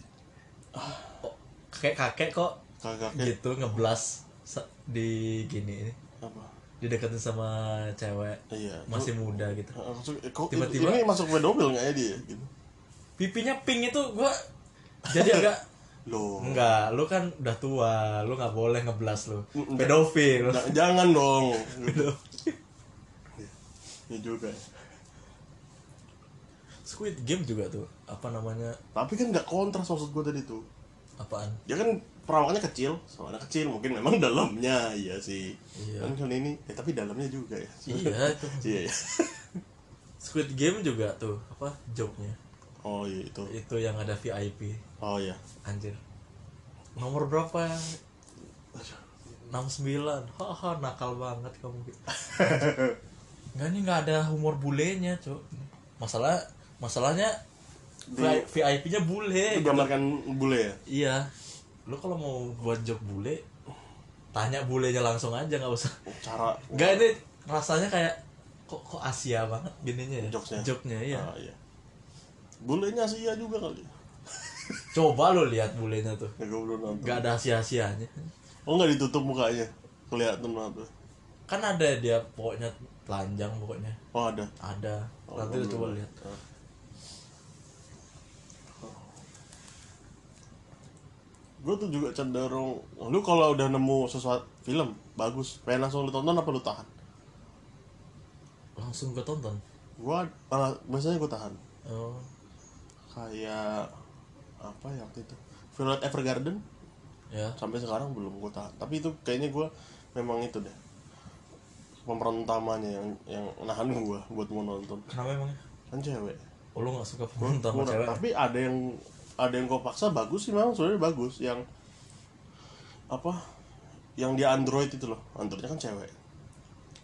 A: kok kakek kakek kok
B: kakaknya
A: gitu ngeblas se- di gini ini
B: apa
A: dideketin sama cewek
B: iya
A: masih muda gitu
B: Heeh, maksud- eh, kok
A: Tiba-tiba-
B: ini masuk pedofil nggak ya dia gitu
A: pipinya pink itu gua jadi agak
B: loh
A: enggak lu kan udah tua lu nggak boleh ngeblas lu
B: Mm,
A: pedofil
B: ja- jangan dong
A: Pedofil.
B: ya juga
A: Squid Game juga tuh apa namanya
B: tapi kan nggak kontras maksud gue tadi tuh
A: apaan
B: dia kan perawakannya kecil soalnya kecil mungkin memang dalamnya iya sih
A: Iya.
B: kan kali ini eh, tapi dalamnya juga ya
A: iya itu
B: iya iya.
A: Squid Game juga tuh apa joke-nya
B: oh iya itu
A: itu yang ada VIP
B: oh iya
A: anjir nomor berapa ya? 69 haha nakal banget kamu nggak nih nggak ada humor bulenya cok masalah masalahnya
B: Di-
A: VIP nya bule
B: gambarkan bule ya
A: iya lu kalau mau buat joke bule tanya bulenya langsung aja nggak usah
B: Oh, cara
A: nggak ini rasanya kayak kok kok Asia banget gininya ya
B: Jokesnya.
A: Jokesnya, iya
B: Ah, iya. Bulenya sih iya juga kali.
A: coba lu lihat bulenya tuh
B: Ya gue belum nonton.
A: nggak ada sia-sianya
B: Oh nggak ditutup mukanya. Kelihatan banget. tuh.
A: kan ada dia pokoknya telanjang pokoknya
B: Oh ada.
A: ada
B: Oh,
A: nanti
B: gua
A: lu
B: belum
A: coba
B: lihat.
A: lihat
B: Ah. Gue tuh juga cenderung lu kalau udah nemu sesuatu film bagus, pengen langsung lu tonton apa lu tahan?
A: langsung gue tonton
B: Gua malah biasanya gue tahan.
A: oh
B: Kayak apa ya waktu itu? Violet Evergarden
A: ya
B: sampai sekarang belum gue tahan tapi itu kayaknya gue memang itu deh pemeran utamanya yang yang nahan gue buat mau nonton
A: kenapa emangnya
B: kan cewek
A: oh, lu nggak suka penonton sama
B: Kurang.
A: cewek
B: tapi ada yang ada yang gue paksa bagus sih memang sebenarnya bagus yang apa yang dia android itu loh androidnya kan cewek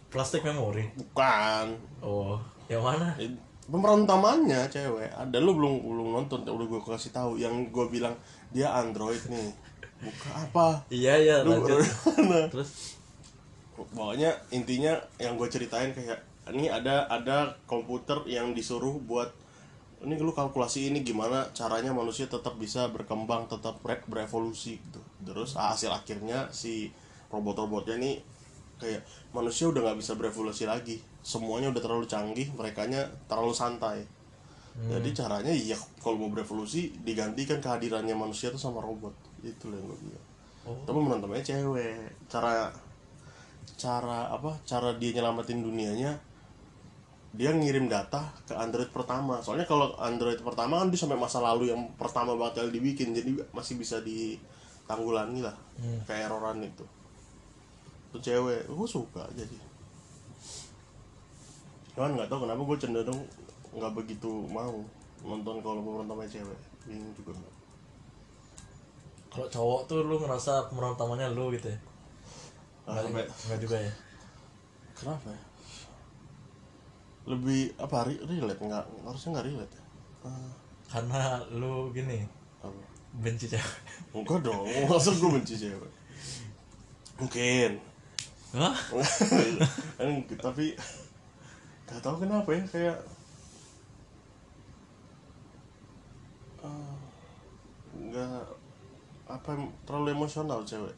A: plastik memori
B: bukan
A: oh yang mana
B: Eh, pemeran utamanya cewek ada lu belum belum nonton udah gue kasih tahu yang gue bilang dia android nih bukan apa
A: iya iya
B: Lu-
A: lanjut
B: Nah,
A: terus
B: pokoknya intinya yang gue ceritain kayak ini ada ada komputer yang disuruh buat ini lu kalkulasi ini gimana caranya manusia tetap bisa berkembang tetap bre- berevolusi gitu terus hasil akhirnya si robot-robotnya ini kayak manusia udah nggak bisa berevolusi lagi semuanya udah terlalu canggih merekanya terlalu santai jadi caranya ya kalau mau berevolusi digantikan kehadirannya manusia itu sama robot itu yang gue bilang
A: Oh.
B: tapi menontonnya cewek cara cara apa cara dia nyelamatin dunianya dia ngirim data ke Android pertama soalnya kalau Android pertama kan dia sampai masa lalu yang pertama banget yang dibikin jadi masih bisa ditanggulangi lah keeroran itu itu cewek gue suka jadi cuman nggak tahu kenapa gue cenderung nggak begitu mau nonton kalau pemeran utamanya cewek bingung juga gua.
A: Kalau cowok tuh lu ngerasa pemeran utamanya lu gitu ya?
B: Ah, sampai-
A: Enggak juga ya?
B: kenapa ya? lebih apa re- relate nggak harusnya nggak relate ya? Ah,
A: Karena lu gini,
B: apa?
A: benci cewek.
B: enggak dong masa gue benci cewek mungkin
A: Hah?
B: Kan, tapi nggak tahu kenapa ya kayak ah, nggak apa em- terlalu emosional cewek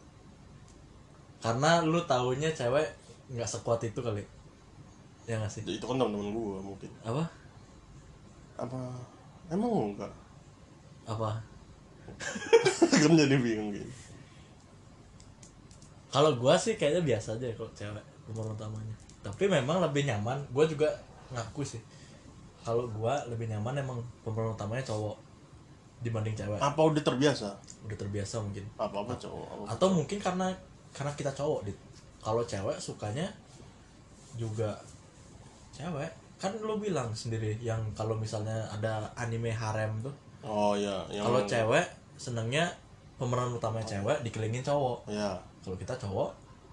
A: Karena lu taunya cewek nggak sekuat itu kali. Ya nggak sih?
B: Ya, itu kan teman-teman gue mungkin
A: Apa?
B: apa emang enggak
A: Apa?
B: kan jadi bingung gitu
A: Kalau gua sih kayaknya biasa aja ya kalau cewek pemeran utamanya. Tapi memang lebih nyaman. Gua juga ngaku sih. Kalau gua lebih nyaman emang pemeran utamanya cowok dibanding cewek.
B: apa udah terbiasa
A: Udah terbiasa mungkin.
B: apa apa cowok apa
A: atau mungkin karena karena kita cowok dit kalau cewek sukanya juga cewek kan lo bilang sendiri yang kalau misalnya ada anime harem tuh
B: oh ya yang
A: kalau cewek senengnya pemeran utamanya cewek dikelilingin cowok
B: ya
A: kalau kita cowok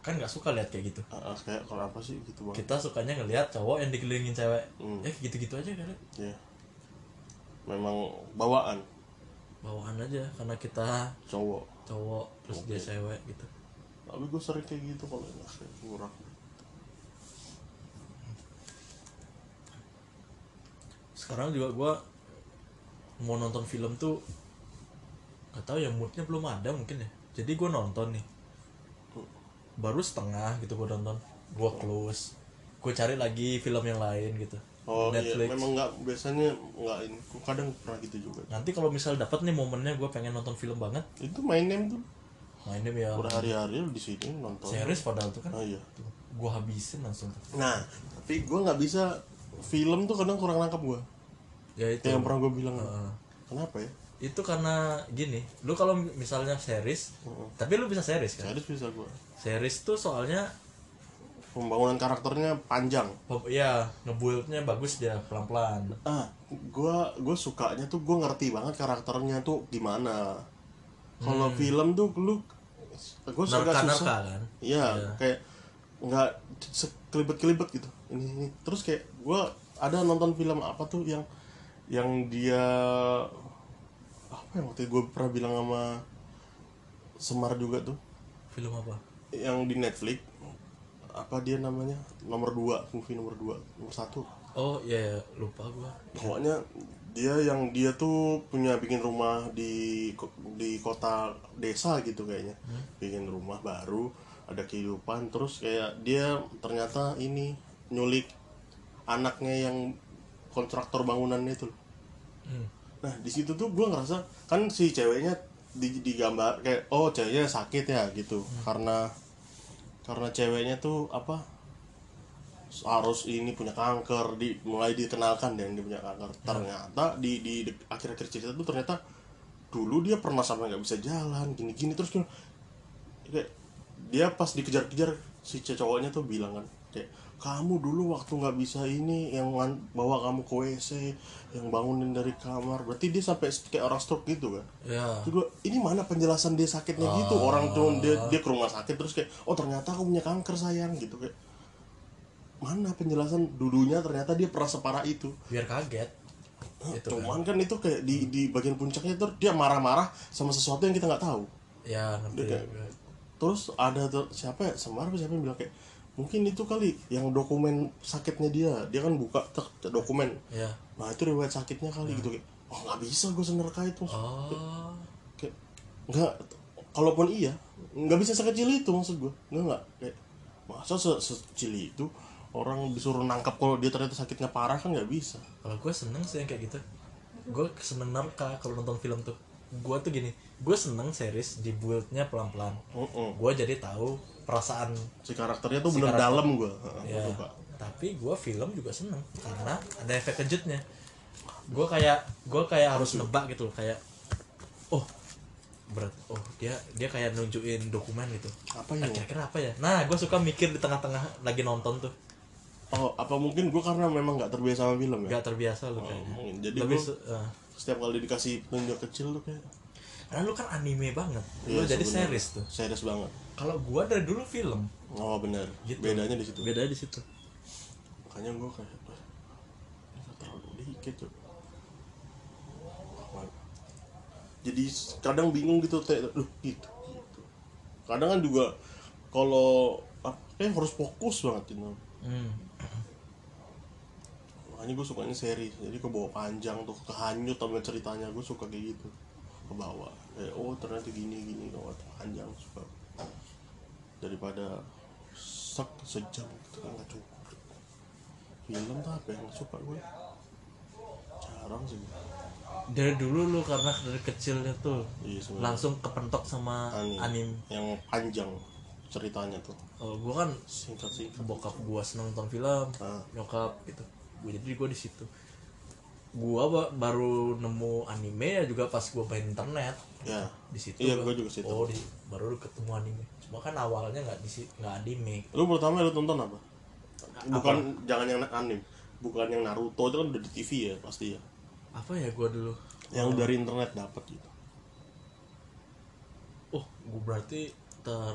A: kan nggak suka lihat kayak gitu
B: ah, ah, kayak kalau apa sih gitu banget
A: kita sukanya ngelihat cowok yang dikelilingin cewek
B: Hmm.
A: ya gitu-gitu aja kan
B: ya memang bawaan
A: bawaan aja karena kita
B: cowok
A: cowok terus dia cewek gitu
B: tapi gue sering kayak gitu kalau enak kayak kurang
A: sekarang juga gua mau nonton film tuh gak tau ya moodnya belum ada mungkin ya jadi gua nonton nih baru setengah gitu gua nonton gua close gue cari lagi film yang lain gitu
B: oh
A: Netflix
B: iya memang nggak biasanya nggak ini Gua kadang pernah gitu juga
A: nanti kalau misal dapat nih momennya gua pengen nonton film banget
B: itu main name tuh
A: mainin ya
B: udah hari-hari lu di sini nonton
A: series padahal tuh kan
B: oh iya
A: gua habisin langsung tuh.
B: nah tapi gue nggak bisa film tuh kadang kurang nangkap gue
A: ya itu
B: kayak yang pernah gue bilang
A: Heeh.
B: kenapa ya
A: itu karena gini lu kalau misalnya series tapi lu bisa series kan
B: harus bisa gue
A: series tuh soalnya
B: pembangunan karakternya panjang
A: Pem- Iya, ngebuildnya bagus dia pelan-pelan.
B: ah gue gue sukanya tuh gue ngerti banget karakternya tuh gimana kalau film tuh lu gue suka susah
A: Nerka-nerka kan.
B: Iya, kayak nggak kelibet-kelibet gitu. Ini, ini. terus kayak gua ada nonton film apa tuh yang yang dia apa ya waktu gue pernah bilang sama Semar juga tuh
A: Film apa?
B: yang di Netflix apa dia namanya nomor 2 movie nomor 2 nomor satu
A: Oh iya, iya, lupa gua.
B: pokoknya dia yang dia tuh punya bikin rumah di ko- di kota desa gitu kayaknya bikin rumah baru ada kehidupan terus kayak dia ternyata ini nyulik anaknya yang kontraktor bangunannya itu loh.
A: Hmm.
B: nah di situ tuh gue ngerasa kan si ceweknya di digambar kayak oh ceweknya sakit ya gitu karena karena ceweknya tuh apa harus ini punya kanker di mulai dikenalkan dan dia punya kanker ternyata di di di akhir-akhir cerita tuh ternyata dulu dia pernah sampai nggak bisa jalan gini-gini terus dia, kayak dia pas dikejar-kejar si cowoknya tuh bilang kan kayak kamu dulu waktu nggak bisa ini yang ngan- bawa kamu ke WC yang bangunin dari kamar berarti dia sampai kayak orang stroke gitu kan
A: Ya.
B: Terus gua, ini mana penjelasan dia sakitnya gitu orang tuh dia dia ke rumah sakit terus kayak oh ternyata aku punya kanker sayang gitu kayak mana penjelasan dulunya ternyata dia pernah separah itu
A: Biar kaget. Itu kan.
B: cuman kan itu kayak di di bagian puncaknya tuh dia marah-marah sama sesuatu yang kita nggak tahu
A: Ya, ngerti.
B: Dia kayak-
A: gua.
B: terus ada tuh siapa ya Semar apa siapa yang bilang kayak mungkin itu kali yang dokumen sakitnya dia dia kan buka tek, dokumen
A: Ya.
B: nah itu riwayat sakitnya kali gitu kayak oh nggak bisa gue senerka itu
A: Oh.
B: kayak nggak kalaupun iya nggak bisa sekecil itu maksud gue nggak nggak kayak masa se- sekecil itu orang disuruh nangkap kalau dia ternyata sakitnya parah kan nggak bisa
A: Kalau gue seneng sih yang kayak gitu. Gue seneng nerka kalau nonton film tuh. Gue tuh gini, gue seneng series di build-nya pelan-pelan.
B: Mm-mm.
A: Gue jadi tahu perasaan
B: si karakternya
A: Si
B: tuh bener
A: karakter-
B: dalam gue
A: ya. Tapi gue film juga seneng karena ada efek kejutnya. Gue kayak gue kayak harus nebak gitu loh, kayak oh berat oh dia dia kayak nunjukin dokumen gitu
B: apa
A: Ah,
B: ya
A: kira-kira apa ya nah gue suka mikir di tengah-tengah lagi nonton tuh
B: oh apa mungkin gue karena memang nggak terbiasa sama film ya
A: nggak terbiasa lu kayaknya
B: mungkin. jadi
A: lebih
B: gua-
A: su- eh.
B: setiap kali dikasih penunjuk kecil tuh kayak
A: karena lu kan anime banget lu
B: Iya,
A: jadi
B: sebenarnya.
A: series tuh
B: serius banget
A: kalau gua dari dulu film
B: oh bener
A: Gitu.
B: bedanya di situ
A: beda di situ
B: makanya gue kayak "Wah, ini terlalu dikit tuh jadi kadang bingung gitu teh Duh, gitu, gitu kadang kan juga kalau apa eh, harus fokus banget gitu. ini
A: hmm.
B: makanya gue sukanya seri jadi ke bawah panjang tuh kehanyut sama ceritanya gue suka kayak gitu ke bawah kayak oh ternyata gini gini oh panjang suka daripada sek sejam gitu kan nggak cukup film tuh apa yang suka gue jarang sih gue.
A: dari dulu lu karena dari kecilnya tuh
B: iya sebenarnya
A: langsung kepentok sama
B: Anim.
A: anime
B: yang panjang ceritanya tuh
A: kalau gua kan
B: singkat singkat
A: bokap gua seneng nonton film
B: Ah.
A: nyokap gitu gua jadi gua di situ gua ba- baru nemu anime ya juga pas gua main internet
B: ya
A: di situ
B: Iya,
A: gua-
B: gua juga situ.
A: oh di, baru ketemu anime cuma kan awalnya nggak di si- nggak anime
B: lu pertama lu tonton apa bukan jangan yang anim bukan yang Naruto itu kan udah di TV ya pasti ya
A: apa ya gua dulu
B: yang dari internet dapat gitu
A: Oh, gue berarti ter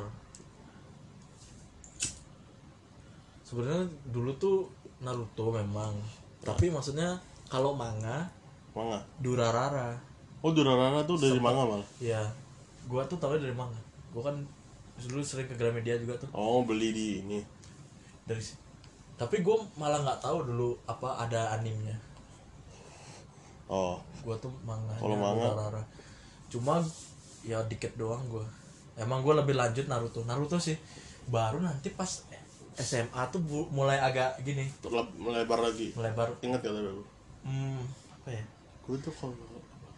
A: sebenarnya dulu tuh Naruto memang, tapi maksudnya kalau manga
B: manga
A: Durarara,
B: oh Durarara tuh dari manga malah
A: ya gua tuh tahu dari manga. Gua kan dulu sering ke Gramedia juga tuh
B: oh beli di ini
A: dari si- tapi gua malah nggak tahu dulu apa ada animnya.
B: oh
A: Gua tuh manganya
B: Kalau manga?
A: Durarara. Cuma ya dikit doang gua. Emang gua lebih lanjut Naruto. Naruto sih baru nanti pas SMA tuh bu- mulai agak gini
B: terleb- melebar lagi
A: melebar
B: ingat ya tapi gue
A: hmm, apa ya
B: gue tuh kalau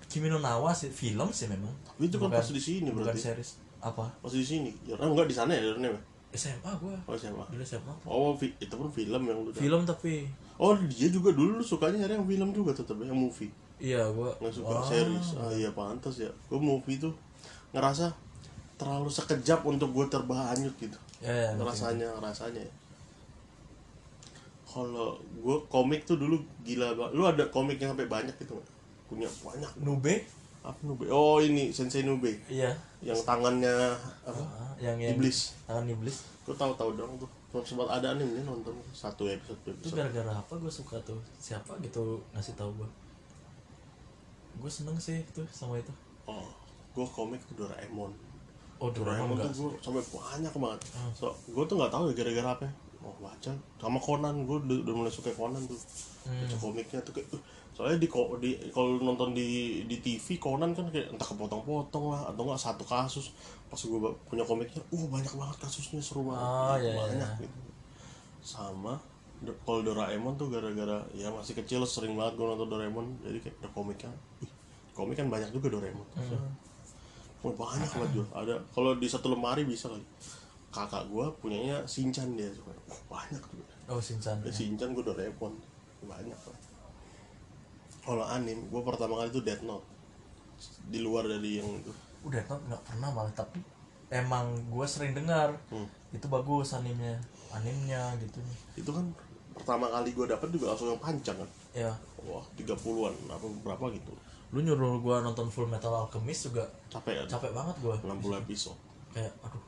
A: Kimi no Nawa sih film sih memang
B: tapi itu kan
A: Bukan-
B: pas di sini
A: bukan
B: berarti
A: series apa
B: pas di sini ya eh, enggak di sana ya Jordan ya
A: SMA gua
B: oh siapa
A: dulu SMA
B: oh fi- itu pun film yang lu
A: film tapi
B: oh dia juga dulu lu sukanya nyari yang film juga tetap ya, yang movie
A: iya gua
B: nggak suka
A: Wah,
B: series ah iya pantas ya gue movie tuh ngerasa terlalu sekejap untuk gue terbahanyut gitu
A: ya, ya, ngerti.
B: rasanya rasanya ya. kalau gue komik tuh dulu gila banget lu ada komik yang sampai banyak gitu nggak? punya banyak
A: Nube
B: apa nube oh ini sensei nube
A: iya
B: yang tangannya apa
A: Ah, yang yang
B: Iblis.
A: tangan iblis
B: gue tahu tahu dong tuh cuma sempat ada animenya nonton satu episode dua
A: itu
B: episode
A: gara-gara apa gua suka tuh siapa gitu ngasih tahu gua gua seneng sih tuh sama itu
B: oh gue komik tuh Doraemon
A: oh Doraemon
B: Doraemon
A: enggak Ah.
B: tuh gue sampai banyak banget so gue tuh nggak tahu ya gara-gara apa ya. mau baca sama Conan gue udah, udah mulai suka Conan tuh baca
A: Hmm.
B: komiknya tuh kayak "Uh." soalnya di ko- di kalau lu nonton di di TV Conan kan kayak entah kepotong-potong lah atau enggak satu kasus pas gue punya komiknya uh banyak banget kasusnya seru banget
A: Oh,
B: Gitu,
A: iya, iya,
B: banyak gitu sama Do- kalau Doraemon tuh gara-gara ya masih kecil sering banget gue nonton Doraemon jadi kayak ada komiknya Ih, komik kan banyak juga Doraemon
A: Hmm.
B: Oh, banyak banget Jul. Ada kalau di satu lemari bisa kali. Kakak gua punyanya Shinchan dia suka. Wah, banyak juga.
A: oh Shinchan
B: Ada Shinchan gua Doraemon. Banyak lah. Kalau anim, gua pertama kali tuh Death Note. Di luar dari yang itu.
A: udah tau nggak pernah malah tapi emang gua sering dengar
B: Hmm.
A: itu bagus animnya animnya gitu
B: Itu kan pertama kali gua dapat juga langsung yang panjang kan.
A: ya
B: Wah, 30-an apa berapa gitu.
A: lu nyuruh gua nonton Full Metal Alchemist juga
B: Capek kan?
A: capek banget gua
B: 60 episode.
A: kayak aduh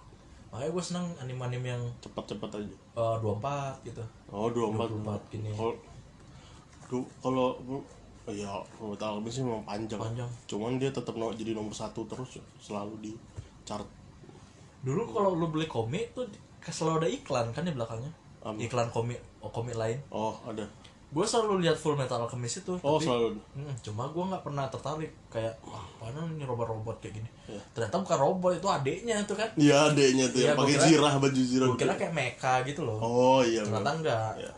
A: makanya gua seneng anime-anime yang
B: Cepat-cepat aja.
A: eh, 24 gitu
B: Oh, 24.
A: 24 gini
B: Kalau du- kalau ya kalau tahu Alchemist sih memang panjang.
A: Panjang.
B: Cuman dia tetap no, jadi nomor satu terus ya, selalu di chart.
A: dulu kalau lu beli komik tuh di- selalu ada iklan kan di belakangnya
B: Apa?
A: iklan komik oh, komik lain
B: Oh, ada.
A: gue selalu lihat Full Metal Alchemist itu
B: oh
A: tapi-
B: selalu
A: Mm, cuma gue nggak pernah tertarik kayak wah mana nih robot-robot kayak gini
B: Iya.
A: ternyata bukan robot itu adeknya itu kan
B: iya adeknya tuh
A: Iya,
B: yang
A: gua
B: pakai
A: kira-
B: zirah baju zirah
A: gue kira kayak mecha gitu loh
B: oh iya
A: ternyata
B: bener.
A: enggak
B: Iya.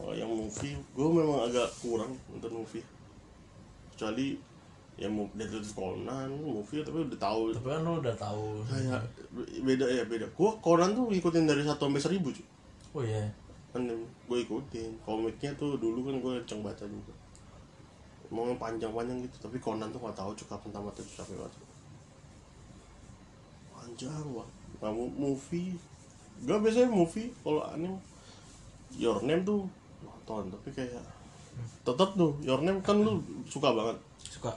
B: Oh, yang movie, gue memang agak kurang nonton movie. Kecuali yang mau Detektif Conan, movie tapi udah tahu
A: tapi kan lu udah tahu
B: kayak beda ya beda. Gue Conan tuh ngikutin dari satu sampai seribu cuy.
A: oh iya
B: Kan gue ikutin komiknya tuh dulu kan gue kenceng baca juga. Mau yang panjang-panjang gitu, tapi Conan tuh gak tahu cuy kapan tamatnya tuh sampai waktu. Panjang banget. Nah, mu- movie, gue biasanya movie kalau anime Your Name tuh nonton, tapi kayak tetap tuh Your Name kan lu suka banget
A: suka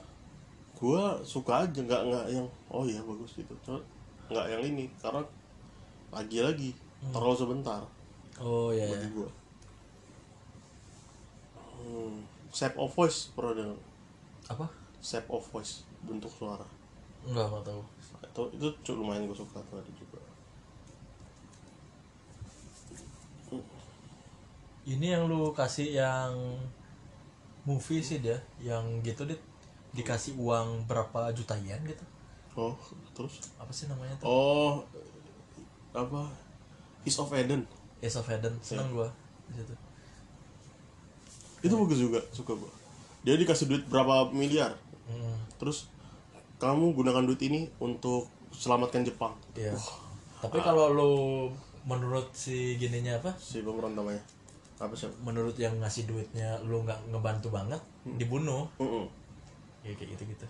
B: gua suka aja nggak nggak yang oh iya bagus gitu Cuma nggak yang ini karena lagi-lagi terlalu sebentar
A: oh iya
B: bagi gua hmm, shape of voice pernah dengar
A: apa
B: shape of voice bentuk suara
A: enggak nggak tahu
B: itu itu cu- lumayan gua suka tuh ada juga Hmm,
A: ini yang lu kasih yang movie sih dia yang gitu dit dikasih uang berapa juta yen gitu
B: oh terus
A: apa sih namanya tuh
B: oh apa East of Eden
A: Ace of Eden seneng gua di situ
B: itu bagus juga suka gua dia dikasih duit berapa miliar
A: Hmm,
B: terus kamu gunakan duit ini untuk selamatkan Jepang
A: iya. tapi
B: Ah.
A: kalau lu menurut si gininya apa
B: si pemeran namanya apa sih
A: menurut yang ngasih duitnya lu nggak ngebantu banget
B: Hmm.
A: dibunuh
B: Mm-mm.
A: ya kayak gitu gitu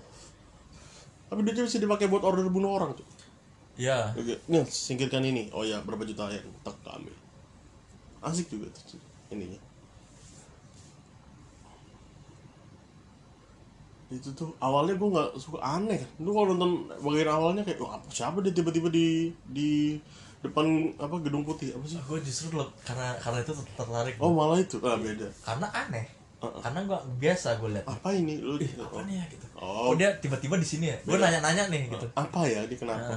B: tapi duitnya bisa dipakai buat order bunuh orang tuh
A: ya
B: Oke, nih singkirkan ini oh ya berapa juta ya tak kami asik juga tuh ininya itu tuh awalnya gue nggak suka aneh kan lu kalau nonton bagian awalnya kayak "Wah, apa siapa dia tiba-tiba di di depan apa gedung putih apa sih
A: gue justru leb- karena karena itu tertarik
B: oh Uh-uh. malah itu ah beda
A: karena aneh karena gua biasa gue lihat
B: apa ini lu
A: apa nih ya gitu
B: Oh. Iya.
A: oh, dia tiba-tiba di sini ya gue nanya-nanya nih gitu
B: apa ya ini kenapa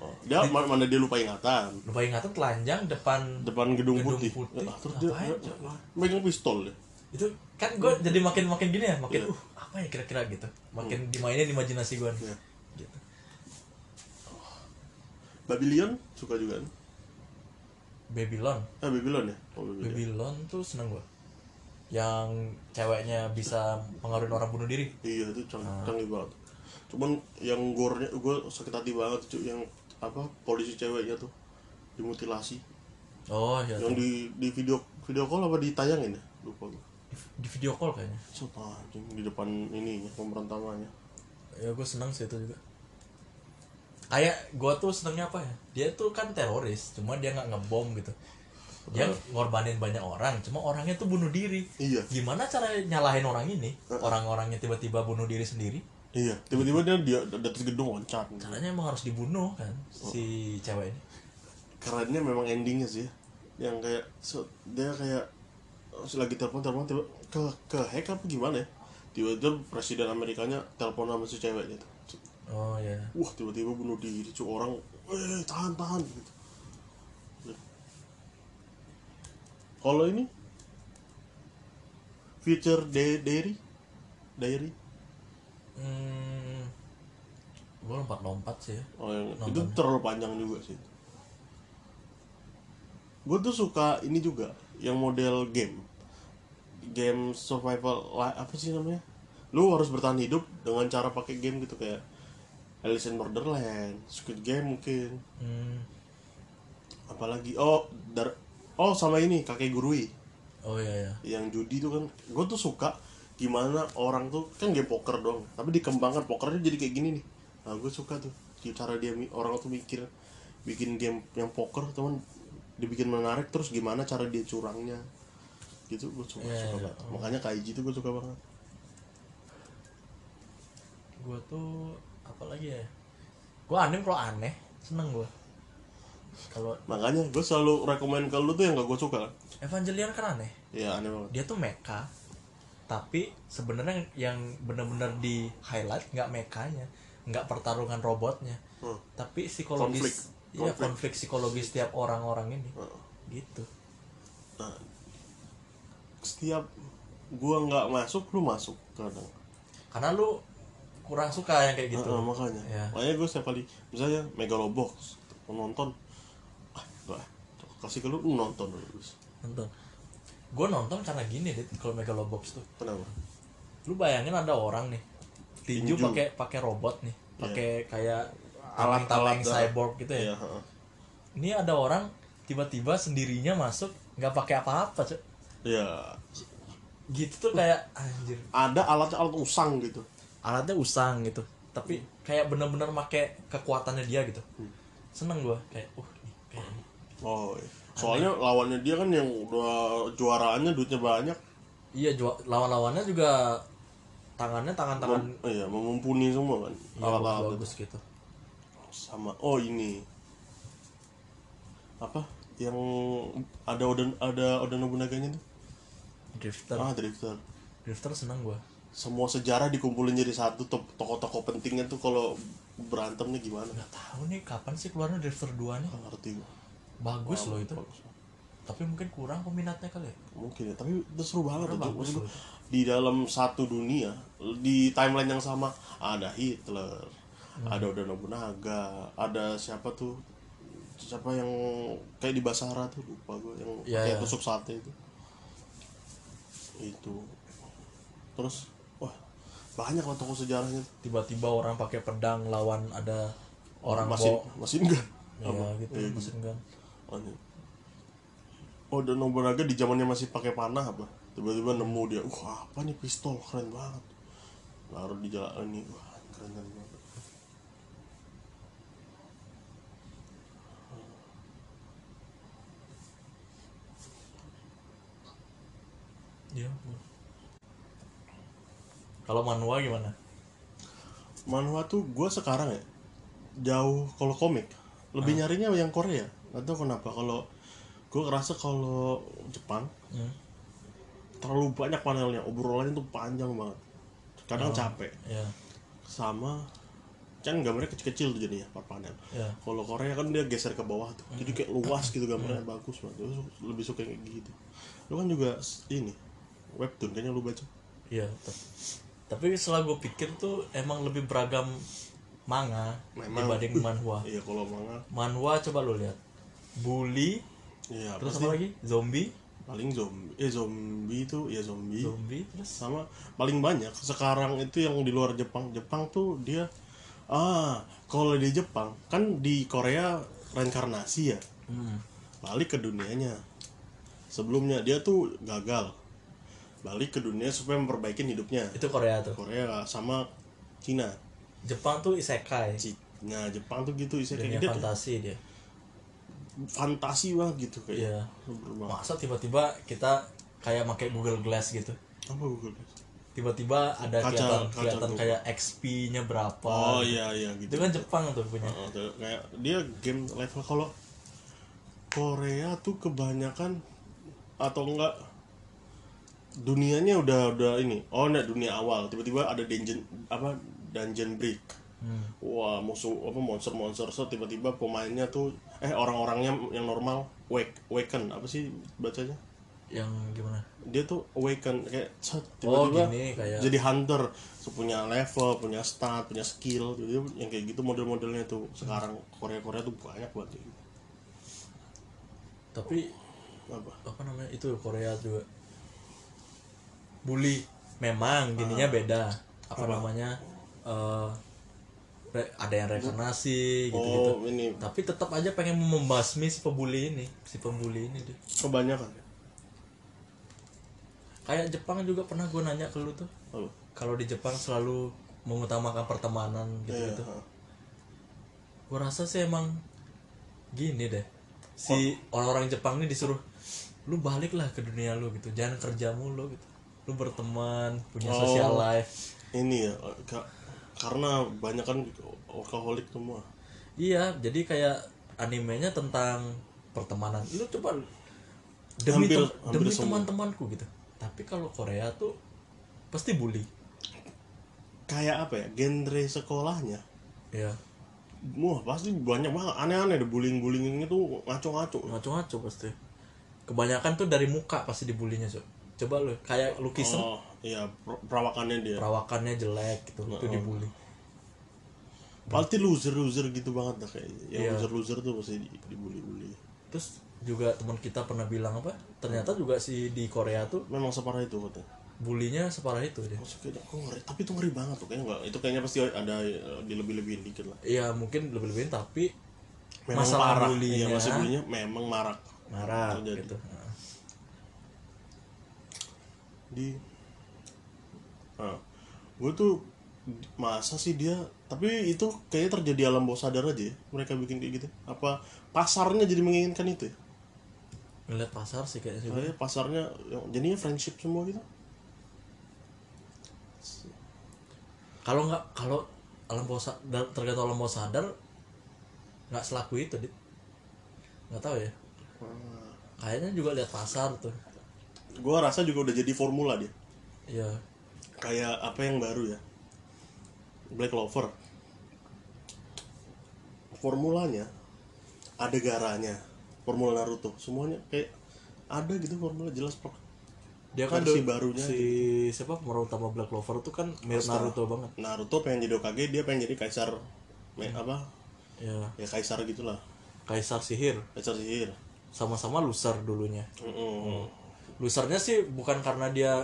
B: oh, dia ma- mana dia lupa ingatan
A: lupa ingatan telanjang depan
B: depan gedung,
A: Gedung
B: putih,
A: putih,
B: Ah, terus dia
A: ngapain,
B: dia- megang pistol deh
A: itu kan gue jadi makin makin gini ya makin uh apa ya kira-kira gitu makin dimainin imajinasi gue
B: Hmm. Iya.
A: gitu
B: Babylon suka juga kan
A: Babylon
B: eh Babylon ya oh
A: Iya.
B: Babylon
A: Babylon tuh seneng gue yang ceweknya bisa pengaruhin orang bunuh diri
B: iya itu cang
A: Ah.
B: canggih banget cuman yang gornya gue sakit hati banget cuy yang apa polisi ceweknya tuh dimutilasi
A: oh iya
B: yang
A: tuh.
B: di di video video call apa ditayangin ya lupa gue
A: di, di video call kayaknya
B: Sumpah, anjing, di depan ininya pemeran utamanya
A: ya gue seneng sih itu juga kayak gue tuh senengnya apa ya dia tuh kan teroris cuma dia nggak ngebom gitu dia ngorbanin banyak orang cuma orangnya tuh bunuh diri
B: Iya.
A: gimana cara nyalahin orang ini orang-orangnya tiba-tiba bunuh diri sendiri
B: iya tiba-tiba dia dia di atas gedung loncat
A: caranya emang harus dibunuh kan si cewek ini
B: kerennya memang endingnya sih ya. yang kayak so- dia kayak eh, lagi telepon telepon tiba ke ke hack apa gimana ya tiba-tiba presiden Amerikanya telepon sama si ceweknya tuh
A: oh ya
B: wah tiba-tiba bunuh diri cuy orang eh tahan tahan gitu kalau ini future Da- diary diary
A: hmm, gue lompat-lompat sih ya.
B: Oh, yang
A: Nonton
B: itu
A: ya.
B: terlalu panjang juga sih. Gue tuh suka ini juga yang model game, game survival li- apa sih namanya? Lu harus bertahan hidup dengan cara pakai game gitu kayak Alice in Borderland, Squid Game mungkin,
A: hmm,
B: apalagi oh dar oh sama ini kakek gurui
A: oh ya ya
B: yang judi tuh kan gue tuh suka gimana orang tuh kan game poker doang tapi dikembangkan pokernya jadi kayak gini nih nah gue suka tuh cara dia mi- orang tuh mikir bikin game yang poker cuman dibikin menarik terus gimana cara dia curangnya gitu gue suka,
A: Iya,
B: suka
A: iya.
B: banget makanya kaiji tuh gue suka banget
A: gue tuh apa lagi ya gue aneh kalau aneh seneng gue kalau
B: makanya gue selalu rekomend ke lu tuh yang gak gue suka
A: Evangelion kan aneh
B: ya aneh banget
A: dia tuh mecha tapi sebenarnya yang benar-benar di highlight nggak mekanya nggak pertarungan robotnya
B: Hmm.
A: tapi psikologis Iya konflik psikologis tiap orang-orang ini
B: Heeh.
A: gitu.
B: Nah, setiap gua nggak masuk lu masuk kadang
A: Karena lu kurang suka yang kayak gitu.
B: Heeh, makanya
A: Iya.
B: makanya gue setiap kali misalnya megalobox nonton ah gua kasih ke lu lu nonton dulu Gus.
A: Nonton. Gue nonton karena gini deh kalau Megalobox tuh.
B: kenapa
A: Lu bayangin ada orang nih tinju Iya.
B: Tinju.
A: pakai pakai robot nih, pakai kayak
B: Alat-alat
A: kaleng-kaleng
B: dah.
A: cyborg gitu ya.
B: iya heeh.
A: Ini ada orang tiba-tiba sendirinya masuk nggak pakai apa-apa, Cuk.
B: iya
A: Gitu tuh kayak anjir.
B: ada alatnya alat usang gitu
A: alatnya usang gitu tapi kayak bener-bener make kekuatannya dia gitu seneng gua kayak uh nih, kayak ini.
B: oh iya. soalnya lawannya dia kan yang udah juaraannya duitnya banyak
A: iya jual lawan-lawannya juga tangannya tangan-tangan
B: mem- iya memumpuni semua kan
A: iya,
B: alat-alat itu.
A: bagus gitu
B: sama oh ini apa yang ada Oden ada Oda Nobunaganya tuh
A: drifter
B: ah Drifter
A: drifter seneng gua
B: semua sejarah dikumpulin jadi satu to- tokoh-tokoh pentingnya tuh kalau berantemnya gimana
A: nggak tahu nih kapan sih keluarnya drifter 2 nih
B: nggak ngerti gua.
A: bagus loh itu
B: Bagus.
A: tapi mungkin kurang peminatnya kali ya
B: mungkin ya tapi itu seru banget itu
A: bagus
B: Maksud gua, di dalam satu dunia di timeline yang sama ada Hitler
A: Hmm.
B: ada Oda Nobunaga ada siapa tuh siapa yang kayak di Basara tuh lupa gue yang
A: Iya,
B: kayak
A: iya.
B: tusuk sate itu itu terus wah banyak lah tokoh sejarahnya
A: tiba-tiba orang pakai pedang lawan ada orang
B: masih
A: bawa-
B: masih enggak
A: iya gitu mesin gun.
B: Anjir. Oda Oh, Nobunaga di zamannya masih pakai panah apa? Tiba-tiba nemu dia, wah apa nih pistol keren banget. Lalu di jalan ini, wah keren keren banget.
A: iya gua. kalau manual gimana
B: Manhwa tuh gue sekarang ya jauh kalau komik lebih nyarinya yang Korea. Gak tau kenapa kalau gue ngerasa kalau Jepang
A: Hmm.
B: terlalu banyak panelnya, obrolannya tuh panjang banget. Kadang capek.
A: Iya.
B: sama kan gambarnya kecil-kecil tuh jadinya per panel.
A: Iya.
B: Kalau Korea kan dia geser ke bawah tuh. Jadi kayak luas gitu gambarnya
A: Hmm.
B: bagus banget. Gue su- lebih suka yang kayak gitu. Lu kan juga s- ini webtoon kayaknya lu baca.
A: Iya. betul. Tapi setelah gue pikir tuh emang lebih beragam manga
B: Memang.
A: dibanding manhwa.
B: Iya, kalau manga
A: Manhwa coba lo lihat. Bully,
B: iya
A: terus
B: pasti
A: apa lagi? Zombie,
B: paling zombie eh zombie itu ya zombie.
A: zombie terus
B: sama paling banyak sekarang itu yang di luar Jepang. Jepang tuh dia ah kalau di Jepang kan di Korea reinkarnasi ya.
A: hmm.
B: balik ke dunianya sebelumnya dia tuh gagal balik ke dunia supaya memperbaiki hidupnya
A: itu Korea tuh.
B: Korea sama Cina
A: Jepang tuh isekai,
B: Cina Jepang tuh gitu isinya
A: dunia
B: kayak dia
A: fantasi dia.
B: fantasi banget gitu kayak
A: Iya.
B: berubah
A: Masa tiba-tiba kita kayak pakai Google Glass gitu.
B: apa Google
A: Tiba-tiba ada
B: Kaca-
A: kelihatan
B: kaca
A: kelihatan
B: Google.
A: kayak XP-nya berapa.
B: oh iya iya
A: Itu
B: gitu
A: kan Jepang tuh punya.
B: Heeh, tuh, kayak dia game level kalau Korea tuh kebanyakan atau enggak dunianya udah udah ini oh enggak dunia awal tiba-tiba ada dungeon apa dungeon break
A: Hmm.
B: wah musuh apa monster monster so tiba-tiba pemainnya tuh eh orang-orangnya yang normal wake waken apa sih bacanya
A: Yang gimana?
B: dia tuh awaken kayak set,
A: Oh,
B: tiba-tiba
A: gini, kayak-
B: jadi hunter So, punya level punya stat punya skill jadi yang kayak gitu model-modelnya tuh sekarang Korea Korea tuh banyak banget kayak gitu.
A: Tapi
B: apa
A: apa namanya itu Korea juga bully
B: Ah.
A: memang gininya beda apa, namanya eh, re- ada yang rekarnasi gitu gitu
B: oh ini
A: tapi tetap aja pengen membasmi si pembuli ini si pembuli ini deh
B: kebanyakan
A: kayak Jepang juga pernah gue nanya ke lu tuh
B: apa
A: kalau di Jepang selalu mengutamakan pertemanan gitu
B: Iya,
A: gitu
B: ha.
A: gue rasa sih emang gini deh si orang-orang Jepang ini disuruh lu baliklah ke dunia lu gitu jangan kerja mulu gitu lu berteman punya
B: Oh.
A: social life
B: ini ya ka- karena banyak kan alkoholik semua
A: iya jadi kayak animenya tentang pertemanan lu coba demi
B: Hampir-
A: tem-
B: hampir
A: demi
B: semua.
A: teman-temanku gitu tapi kalau Korea tuh pasti bully
B: kayak apa ya genre sekolahnya
A: ya
B: wah pasti banyak banget aneh-aneh ada bullying-bullying itu ngaco-ngaco
A: ngaco-ngaco pasti kebanyakan tuh dari muka pasti dibulinya so. coba lu kayak lukisan
B: oh iya per- perawakannya dia
A: perawakannya jelek gitu
B: Nah,
A: itu
B: oh.
A: dibully
B: pasti loser-loser gitu banget dah kayaknya yang
A: Iya.
B: loser-loser tuh pasti di- dibully-bully
A: terus juga teman kita pernah bilang apa ternyata juga si di Korea tuh
B: memang separah itu katanya
A: bulinya separah itu dia
B: maksudnya kok ngeri tapi itu ngeri banget tuh kayaknya nggak itu kayaknya pasti ada di lebih-lebihin dikit lah
A: Iya mungkin lebih-lebihin tapi
B: memang
A: masalah
B: parah
A: bullying-nya
B: iya masih bullyingnya memang marak
A: marah
B: Terjadi.
A: gitu. Nah,
B: di nah, gue tuh masa sih dia tapi itu kayaknya terjadi alam bawah sadar aja ya, mereka bikin kayak gitu apa pasarnya jadi menginginkan itu ya?
A: Ngeliat pasar sih kayaknya juga.
B: Kayaknya pasarnya yang- jadinya friendship semua gitu
A: Kalau nggak kalau alam bawah sadar tergantung alam bawah sadar nggak selaku itu dit. Nggak tahu ya. Kayaknya juga lihat pasar tuh.
B: gue rasa juga udah jadi formula dia
A: Iya.
B: kayak apa yang baru ya Black Clover formulanya ada garanya formula Naruto semuanya kayak ada gitu formula jelas Pak.
A: Dia kan
B: Versi
A: dulu-
B: barunya
A: si siapa pemeran utama Black Clover tuh kan mirip Naruto banget.
B: Naruto pengen jadi Hokage dia pengen jadi kaisar me- apa
A: Ya,
B: ya kaisar gitulah
A: Kaisar Sihir
B: kaisar sihir
A: sama-sama loser dulunya.
B: Mm-mm.
A: Losernya sih bukan karena dia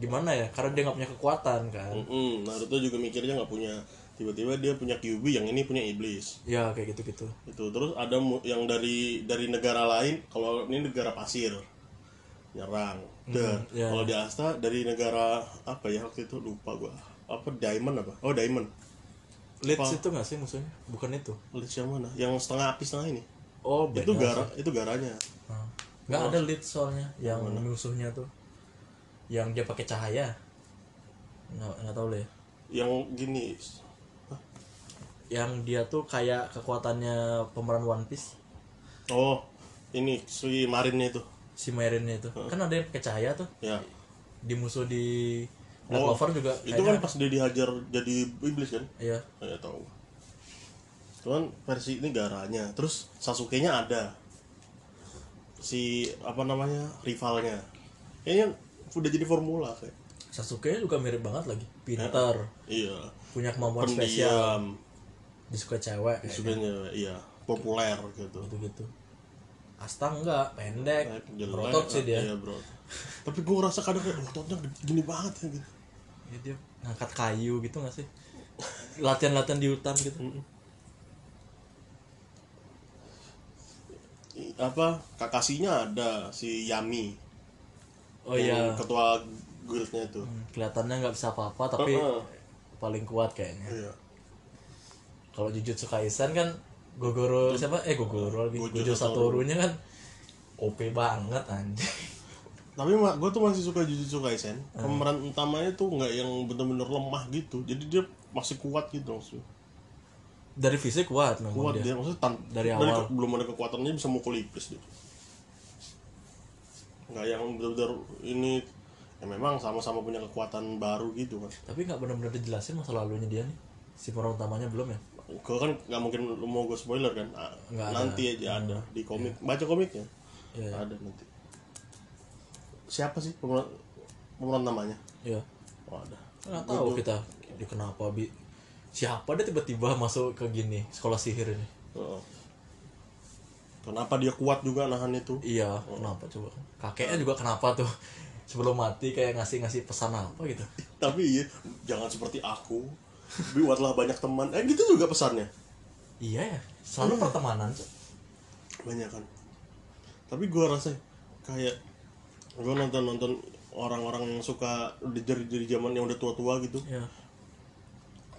A: gimana ya, karena dia nggak punya kekuatan kan.
B: Mm-mm. Naruto juga mikirnya nggak punya tiba-tiba dia punya Kyuubi yang ini punya iblis
A: Ya kayak gitu-gitu.
B: itu terus ada mu- yang dari dari negara lain kalau ini negara pasir nyerang Dah.
A: iya.
B: kalau di Asta dari negara apa ya waktu itu lupa gua apa diamond apa oh diamond
A: Leeds itu nggak sih musuhnya? Bukan itu.
B: Leeds yang mana yang setengah api setengah ini
A: Oh,
B: itu
A: beda.
B: gara itu garanya
A: Nah, nggak ada Leeds soalnya yang musuhnya tuh. Yang dia pakai cahaya. Nggak nggak tahu deh.
B: yang gini Hah?
A: Yang dia tuh kayak kekuatannya pemeran One Piece
B: oh ini si marinnya itu
A: si Marinnya itu. Kan ada yang pakai cahaya tuh.
B: ya
A: Di musuh di Black
B: Oh,
A: Clover juga
B: itu kan pas dia dihajar jadi iblis kan
A: Iya.
B: nggak tahu cuman versi ini garanya terus Sasuke nya ada si apa namanya rivalnya kayaknya udah jadi formula kayak
A: Sasuke juga mirip banget lagi. Pintar,
B: iya
A: punya kemampuan spesial,
B: pendiam
A: disuka cewek kayak
B: sukanya iya populer gitu
A: gitu-gitu. Asta enggak, pendek,
B: Jelek,
A: berotot sih dia.
B: iya, bro. tapi gue ngerasa kadang kayak "Wah, ototnya gini banget ya gitu
A: Ya, dia ngangkat kayu gitu gak sih? Latihan-latihan di hutan gitu.
B: I- apa kakasinya ada si Yami
A: Oh iya,
B: yang
A: hmm,
B: ketua guildnya itu
A: kelihatannya nggak bisa apa-apa tapi
B: Heeh.
A: paling kuat kayaknya.
B: iya
A: Kalau Jujutsu Kaisen kan Gogoro siapa? Eh Gogoro lagi.
B: Gojo
A: Gojo
B: Satoru.
A: Satoru-nya kan OP banget anjing.
B: tapi gue tuh masih suka Jujutsu Kaisen
A: Hmm.
B: pemeran utamanya tuh nggak yang bener-bener lemah gitu jadi dia masih kuat gitu maksudnya
A: Dari fisik kuat memang
B: kuat
A: Oh, dia.
B: dia, maksudnya tan-
A: Dari awal.
B: ke- belum ada kekuatannya bisa mukul iblis dia nggak yang bener-bener ini ya memang sama-sama punya kekuatan baru gitu kan
A: Tapi nggak benar-benar dijelasin masa lalunya dia nih. Si peran utamanya belum ya?
B: gue kan nggak mungkin lu mau gue spoiler kan Ah,
A: Nggak ada. Hmm.
B: nanti aja ada di komik baca komiknya
A: Iya.
B: ada nanti siapa sih pemeran pemeran namanya
A: Iya.
B: oh ada
A: Nggak tahu kita dia kenapa bi siapa dia tiba-tiba masuk ke gini sekolah sihir ini.
B: Heeh. Oh. Kenapa dia kuat juga nahan itu?
A: Iya, kenapa coba? Kakeknya juga kenapa tuh? Sebelum mati kayak ngasih-ngasih pesan apa gitu.
B: Tapi iya, jangan seperti aku. Buatlah banyak teman. Eh gitu juga pesannya.
A: Iya ya, selalu pertemanan. Cok.
B: Banyak kan. Tapi gua rasa kayak gua nonton-nonton orang-orang yang suka dari dari zaman yang udah tua-tua gitu.
A: Iya.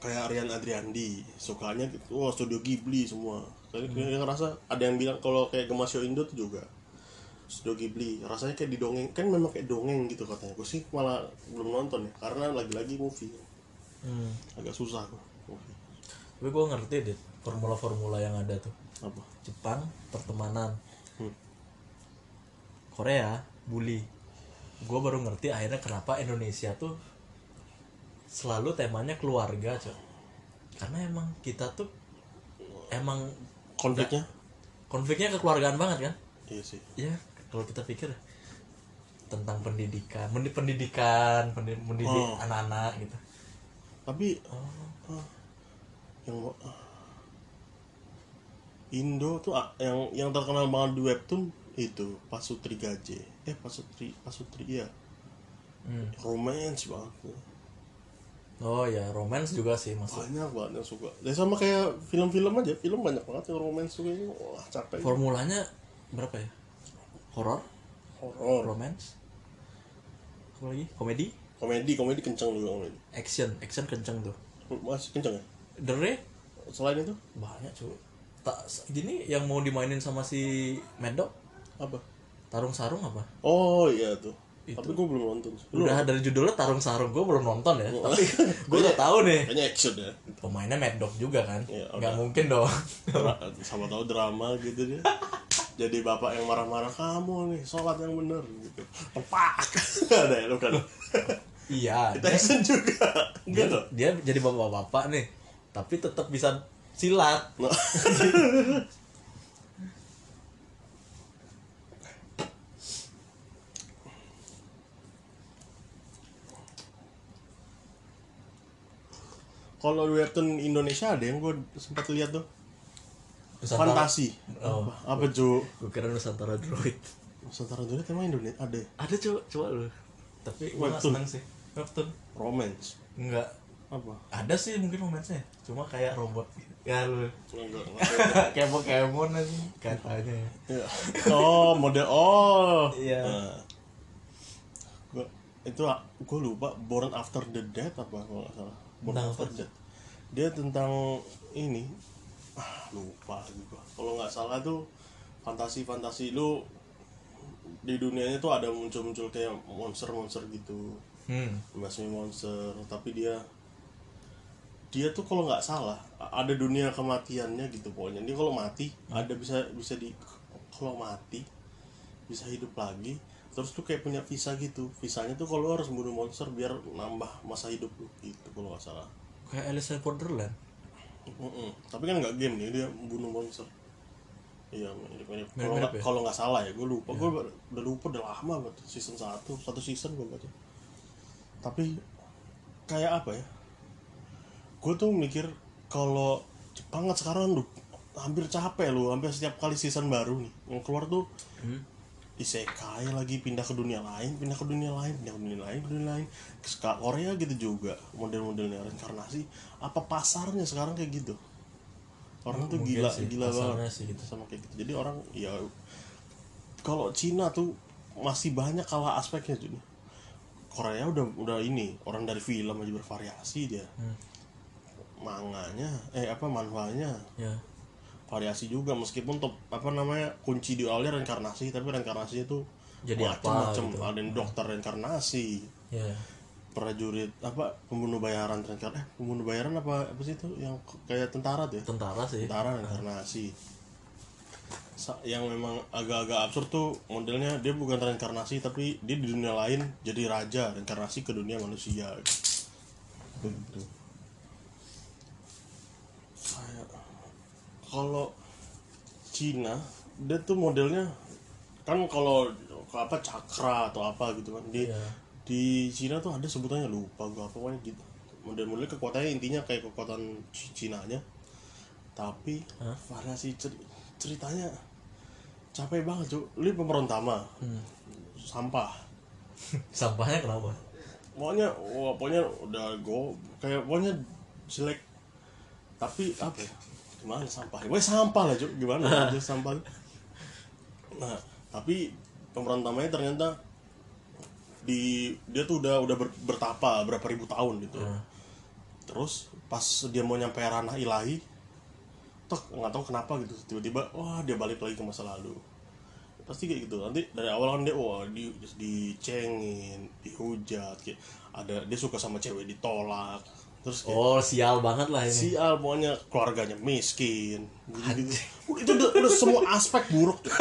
B: Kayak Rian Adriandi, sukanya gitu. Wah, studio Ghibli semua. Kayak kayak ngerasa ada yang bilang kalau kayak Gemasyo Indo tuh juga Studio Ghibli rasanya kayak didongeng kan memang kayak dongeng gitu katanya gue sih malah belum nonton ya karena lagi-lagi movie
A: Hmm.
B: agak susah kok Oke.
A: Tapi gue ngerti deh formula-formula yang ada tuh.
B: apa
A: Jepang pertemanan,
B: Hmm.
A: Korea bully. Gue baru ngerti akhirnya kenapa Indonesia tuh selalu temanya keluarga, cok. Karena emang kita tuh emang
B: konfliknya
A: konfliknya kekeluargaan banget kan
B: iya sih
A: ya kalau kita pikir tentang pendidikan mendi pendidikan pendi- mendidik
B: Oh.
A: anak-anak gitu
B: tapi eh, yang mau- Indo tuh ah, yang yang terkenal banget di webtoon itu Pasutri Gaje eh Pasutri Pasutri iya
A: Hmm.
B: romance banget tuh.
A: oh ya romance juga sih maksud
B: banyak banget yang suka dan sama kayak film-film aja film banyak banget yang romance suka ini wah capek
A: formulanya berapa ya horor
B: horor
A: romance apa lagi komedi
B: komedi komedi kenceng juga komedi
A: action action kenceng tuh
B: masih kenceng ya
A: Dere
B: selain itu
A: banyak cuy tak gini yang mau dimainin sama si Mad Dog
B: apa
A: tarung sarung apa
B: oh iya tuh tapi gue belum nonton Lu
A: udah dari judulnya tarung sarung gue belum nonton ya tapi gue udah tahu nih
B: kayaknya action ya
A: pemainnya Mad Dog juga kan
B: Iya,
A: nggak mungkin dong
B: Dra- sama tahu drama gitu dia jadi bapak yang marah-marah kamu nih sholat yang bener gitu tepak ada ya lu kan
A: iya
B: Kita action juga
A: dia,
B: gitu
A: dia jadi bapak-bapak nih tapi tetap bisa silat
B: Nah, Kalau webtoon Indonesia ada yang gue sempat lihat tuh fantasi
A: Oh.
B: apa Jo
A: gue kira Nusantara Droid
B: Nusantara Dunia emang Indonesia ada ya?
A: ada coba coba lu tapi gue nggak
B: Webtoon.
A: seneng sih webtoon
B: romance
A: nggak
B: apa
A: ada sih mungkin momennya cuma kayak robot gitu. ya lu
B: enggak
A: kayak Pokemon aja katanya
B: oh model oh
A: Iya.
B: Nah. Gua- itu gue lupa Born After the Dead apa kalau nggak salah Born
A: Tentang
B: After
A: Nah, apa?
B: Dead dia tentang ini ah lupa juga kalau nggak salah tuh fantasi fantasi lu di dunianya tuh ada muncul-muncul kayak monster-monster gitu
A: hmm
B: Basmi monster tapi dia dia tuh kalau nggak salah a- ada dunia kematiannya gitu pokoknya dia kalau mati ada bisa bisa di kalau mati bisa hidup lagi terus tuh kayak punya visa gitu visanya tuh kalau lu harus bunuh monster biar nambah masa hidup lu gitu kalau nggak salah
A: kayak Alice in Borderland
B: Mm-mm. tapi kan nggak game nih dia bunuh monster iya mirip-mirip
A: Mirip-mirip
B: kalau nggak
A: ya? Iya.
B: kalau nggak salah ya gue lupa gue udah lupa udah lama banget season satu satu season gue baca tapi kayak apa ya gue tuh mikir kalau Jepang kan sekarang lu hampir capek lu hampir setiap kali season baru nih yang keluar tuh
A: Hmm.
B: isekai lagi pindah ke dunia lain pindah ke dunia lain pindah ke dunia lain ke dunia lain Ke Korea gitu juga model-modelnya reinkarnasi apa pasarnya sekarang kayak gitu orang tuh
A: Mungkin
B: gila
A: sih,
B: gila
A: pasarnya
B: banget
A: sih gitu.
B: sama kayak gitu jadi orang ya kalau Cina tuh masih banyak kalah aspeknya jadi Korea udah udah ini orang dari film aja bervariasi dia
A: Hmm.
B: manganya eh apa manhwanya
A: ya
B: variasi juga meskipun top apa namanya kunci di awalnya reinkarnasi tapi reinkarnasinya tuh
A: Jadi apa
B: macam-macam
A: gitu.
B: ada yang dokter reinkarnasi
A: ya
B: prajurit apa pembunuh bayaran reinkarnasi eh pembunuh bayaran apa apa sih itu yang k- kayak tentara tuh ya
A: tentara sih
B: tentara reinkarnasi Sa- yang memang agak-agak absurd tuh modelnya dia bukan reinkarnasi tapi dia di dunia lain jadi raja reinkarnasi ke dunia manusia begitu saya kalau Cina dia tuh modelnya kan kalau apa cakra atau apa gitu kan di
A: Iya.
B: di Cina tuh ada sebutannya lupa gua apa pokoknya gitu model-model kekuatannya intinya kayak kekuatan Cina nya tapi variasi cer- ceritanya capek banget cuy lu pemeran utama sampah
A: sampahnya kenapa
B: pokoknya wah, pokoknya udah go kayak pokoknya jelek tapi apa ya gimana sampah gue sampah lah cuy gimana aja sampah nah tapi pemeran utamanya ternyata di dia tuh udah udah ber- bertapa berapa ribu tahun gitu
A: Hmm.
B: terus pas dia mau nyampe ranah ilahi tek nggak tahu kenapa gitu tiba-tiba wah dia balik lagi ke masa lalu pasti kayak gitu nanti dari awal kan dia wah di dicengin dihujat kayak ada dia suka sama cewek ditolak terus kayak
A: oh sial banget lah ini
B: Iya. sial pokoknya keluarganya miskin gitu, itu udah, udah semua aspek buruk tuh.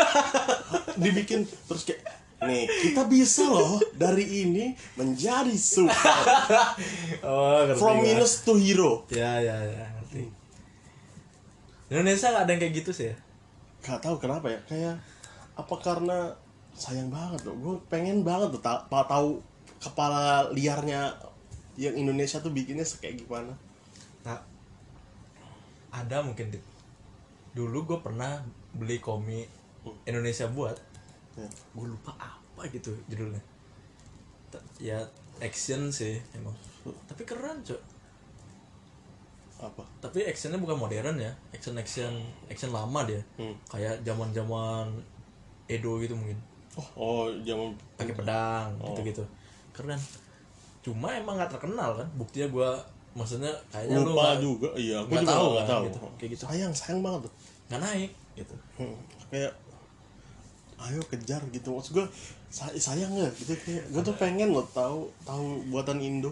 B: dibikin terus kayak nih kita bisa loh dari ini menjadi super
A: oh ngerti
B: from
A: gua.
B: minus to hero
A: ya ya ya ngerti Indonesia nggak ada yang kayak gitu sih ya
B: Gak tahu kenapa ya kayak apa karena sayang banget loh gue pengen banget tuh ta- pa- tahu kepala liarnya yang Indonesia tuh bikinnya se- kayak gimana
A: Nah, ada mungkin Dit. dulu gue pernah beli komik
B: Hmm.
A: Indonesia buat
B: ya.
A: gue lupa apa gitu judulnya T- ya action sih emang tapi keren cok
B: apa
A: tapi actionnya bukan modern ya action action action lama dia
B: Hmm.
A: kayak zaman zaman Edo gitu mungkin
B: oh oh zaman
A: pakai pedang
B: Oh.
A: gitu gitu keren cuma emang nggak terkenal kan buktinya gue maksudnya kayaknya lu
B: lupa
A: nggak-
B: juga iya gue
A: nggak
B: juga
A: tahu
B: nggak
A: kan,
B: tahu
A: gitu. Kayak gitu.
B: sayang sayang banget tuh
A: nggak naik gitu
B: Hmm, kayak ayo kejar gitu maksud gue say- sayang nggak gitu kayak gue tuh pengen loh tahu tahu buatan Indo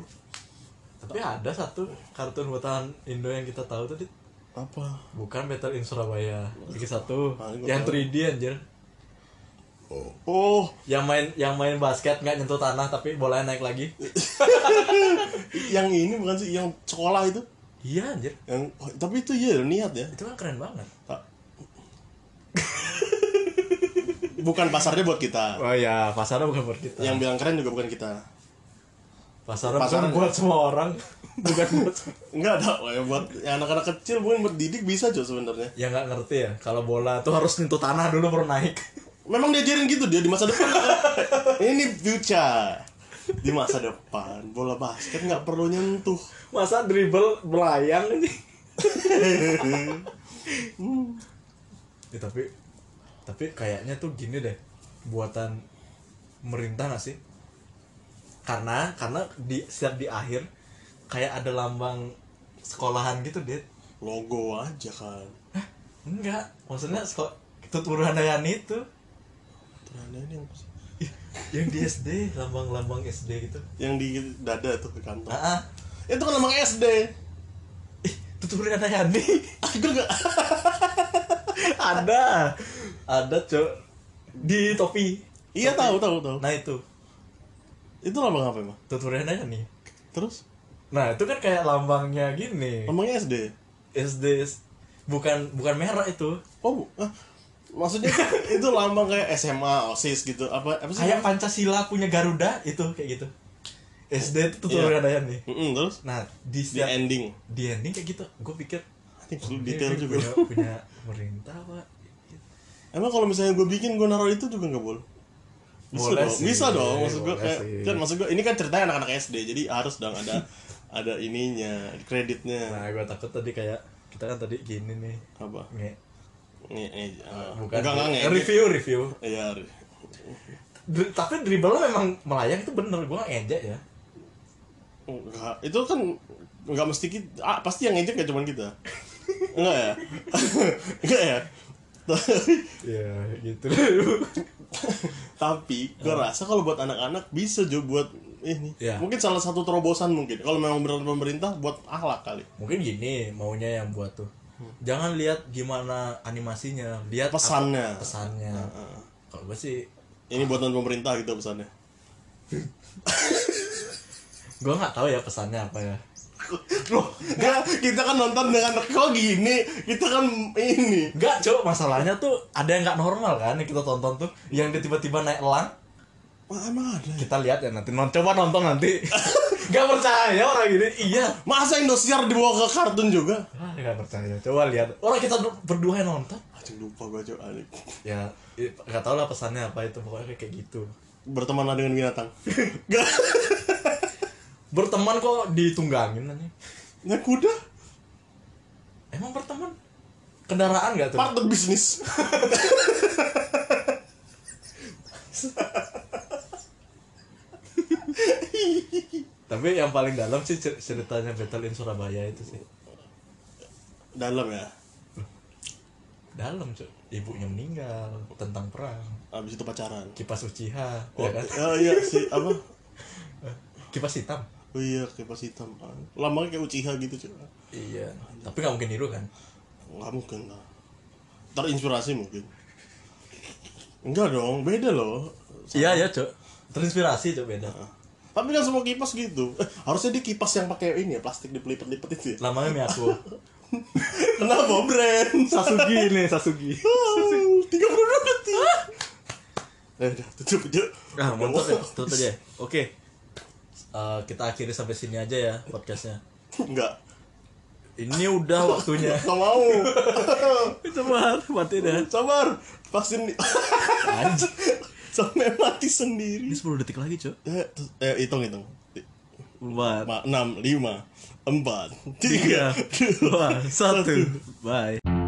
A: tapi ada satu kartun buatan Indo yang kita tahu tadi
B: apa
A: bukan Battle in Surabaya lagi satu
B: Ah, ini gua
A: yang
B: tahu.
A: 3D anjir
B: oh
A: yang main yang main basket nggak nyentuh tanah tapi bolanya naik lagi
B: yang ini bukan sih yang sekolah itu
A: iya anjir
B: yang oh, tapi itu ya niat ya
A: itu kan keren banget
B: Ta- bukan pasarnya buat kita
A: oh ya pasarnya bukan buat kita
B: yang bilang keren juga bukan kita
A: pasarnya,
B: Pasaran
A: bukan buat semua orang bukan buat
B: nggak ada ya, buat ya, anak-anak kecil mungkin berdidik bisa juga sebenarnya
A: ya nggak ngerti ya kalau bola tuh harus nyentuh tanah dulu baru naik
B: memang diajarin gitu dia di masa depan ini future di masa depan bola basket nggak perlu nyentuh
A: masa dribble belayang ini ya, tapi tapi kayaknya tuh gini deh buatan pemerintah nggak sih karena karena di setiap di akhir kayak ada lambang sekolahan gitu deh
B: logo aja kan
A: enggak maksudnya sekol Tut Burhanayani itu
B: Ternyata ini yang
A: yang di SD lambang-lambang SD gitu
B: yang di dada tuh ke kantor
A: ah ah.
B: itu kan emang SD
A: ih Tut Burhanayani
B: aku Ah, nggak
A: ada ada cok di topi
B: iya tahu tahu tahu
A: nah itu
B: itu lambang apa emang
A: tuturnya aja nih
B: terus
A: nah itu kan kayak lambangnya gini
B: lambangnya SD
A: SD bukan bukan merah itu
B: oh bu- ah. maksudnya itu lambang kayak SMA osis gitu apa apa sih
A: kayak Pancasila punya Garuda itu kayak gitu SD itu tuturnya aja nih
B: Mm-mm, terus
A: nah di
B: Iya. di
A: setiap
B: ending
A: di ending kayak gitu gue pikir
B: Ini perlu
A: ini-
B: detail
A: ini
B: juga
A: punya, punya pemerintah pak
B: Emang kalau misalnya gue bikin gue naruh itu juga nggak boleh. Bisa
A: Boleh
B: dong,
A: sih,
B: bisa dong. Maksud gue
A: boleh
B: kayak
A: sih.
B: kan maksud gue ini kan ceritanya anak-anak SD, jadi harus dong ada ada ininya kreditnya
A: nah gue takut tadi kayak kita kan tadi gini nih
B: apa?
A: nge
B: Nge, nge, ah,
A: bukan
B: enggak enggak nge.
A: review review
B: Iya. re-
A: Dri- tapi dribble memang melayang itu bener gue ngejek ya
B: Enggak, itu kan enggak mesti kita, ah, pasti yang ngejek gak cuman kita. Enggak ya? enggak ya? Tapi-
A: ya gitu
B: Tapi gue rasa kalau buat anak-anak bisa juga buat ini.
A: Nah. Iya.
B: Mungkin salah satu terobosan mungkin. Kalau memang benar pemerintah buat akhlak kali.
A: mungkin gini maunya yang buat tuh jangan lihat gimana animasinya lihat
B: Pesannya.
A: apa pesannya
B: Heeh.
A: kalau gue sih
B: Ini buatan pemerintah gitu pesannya.
A: gue nggak tahu ya pesannya apa ya
B: Loh, nggak, kita kan nonton dengan kok gini, kita kan ini.
A: nggak cok masalahnya tuh ada yang nggak normal kan yang kita tonton tuh yang dia tiba-tiba naik elang
B: Wah, emang ada. ya?
A: kita lihat ya nanti non coba nonton nanti nggak percaya orang gini iya
B: Masa Indosiar dibawa ke kartun juga?
A: Ah, nggak percaya coba lihat orang kita berdua yang nonton
B: Anjing lupa gua coba Alik.
A: ya i- nggak tahu lah pesannya apa itu pokoknya kayak gitu
B: Bertemanlah dengan binatang. Gak.
A: berteman kok ditunggangin aja
B: Ya kuda,
A: emang berteman kendaraan nggak tuh
B: partner bisnis.
A: tapi yang paling dalam sih cer- ceritanya Battle in Surabaya itu sih
B: Dalam ya.
A: dalam cuy ibunya meninggal tentang perang
B: Abis itu pacaran.
A: kipas Uchiha ya
B: Oh,
A: kan?
B: oh iya si apa?
A: kipas hitam
B: Oh iya, kipas hitam. Lambangnya kayak Uchiha gitu, coba.
A: iya tapi nggak mungkin niru kan
B: Nggak mungkin lah. Terinspirasi mungkin. Enggak dong, beda loh.
A: iya ya cuy terinspirasi cuy beda
B: Tapi kan semua kipas gitu. Eh, harusnya dia kipas yang pakai ini ya, plastik dipelipet-lipet itu ya.
A: lamanya Miyako
B: Kenapa brand?
C: Sasugi nih Sasugi
B: Tiga puluh dua detik. Eh, udah tutup aja.
A: Ah,
B: Udah,
A: mantap ya.
B: wow.
A: Tutup aja. Oke. Eh, kita akhiri sampai sini aja ya podcastnya.
B: Enggak.
A: Ini udah waktunya.
B: Gak mau.
A: Cepat, mati dah.
B: Sabar. Vaksin
A: Anjir.
B: sampai mati
A: Ini
B: sendiri.
A: 10 detik lagi, Cok.
B: Eh, tu- eh, hitung hitung.
A: Empat,
B: Ma- Enam, lima, empat, tiga,
A: tiga, dua, satu. Bye.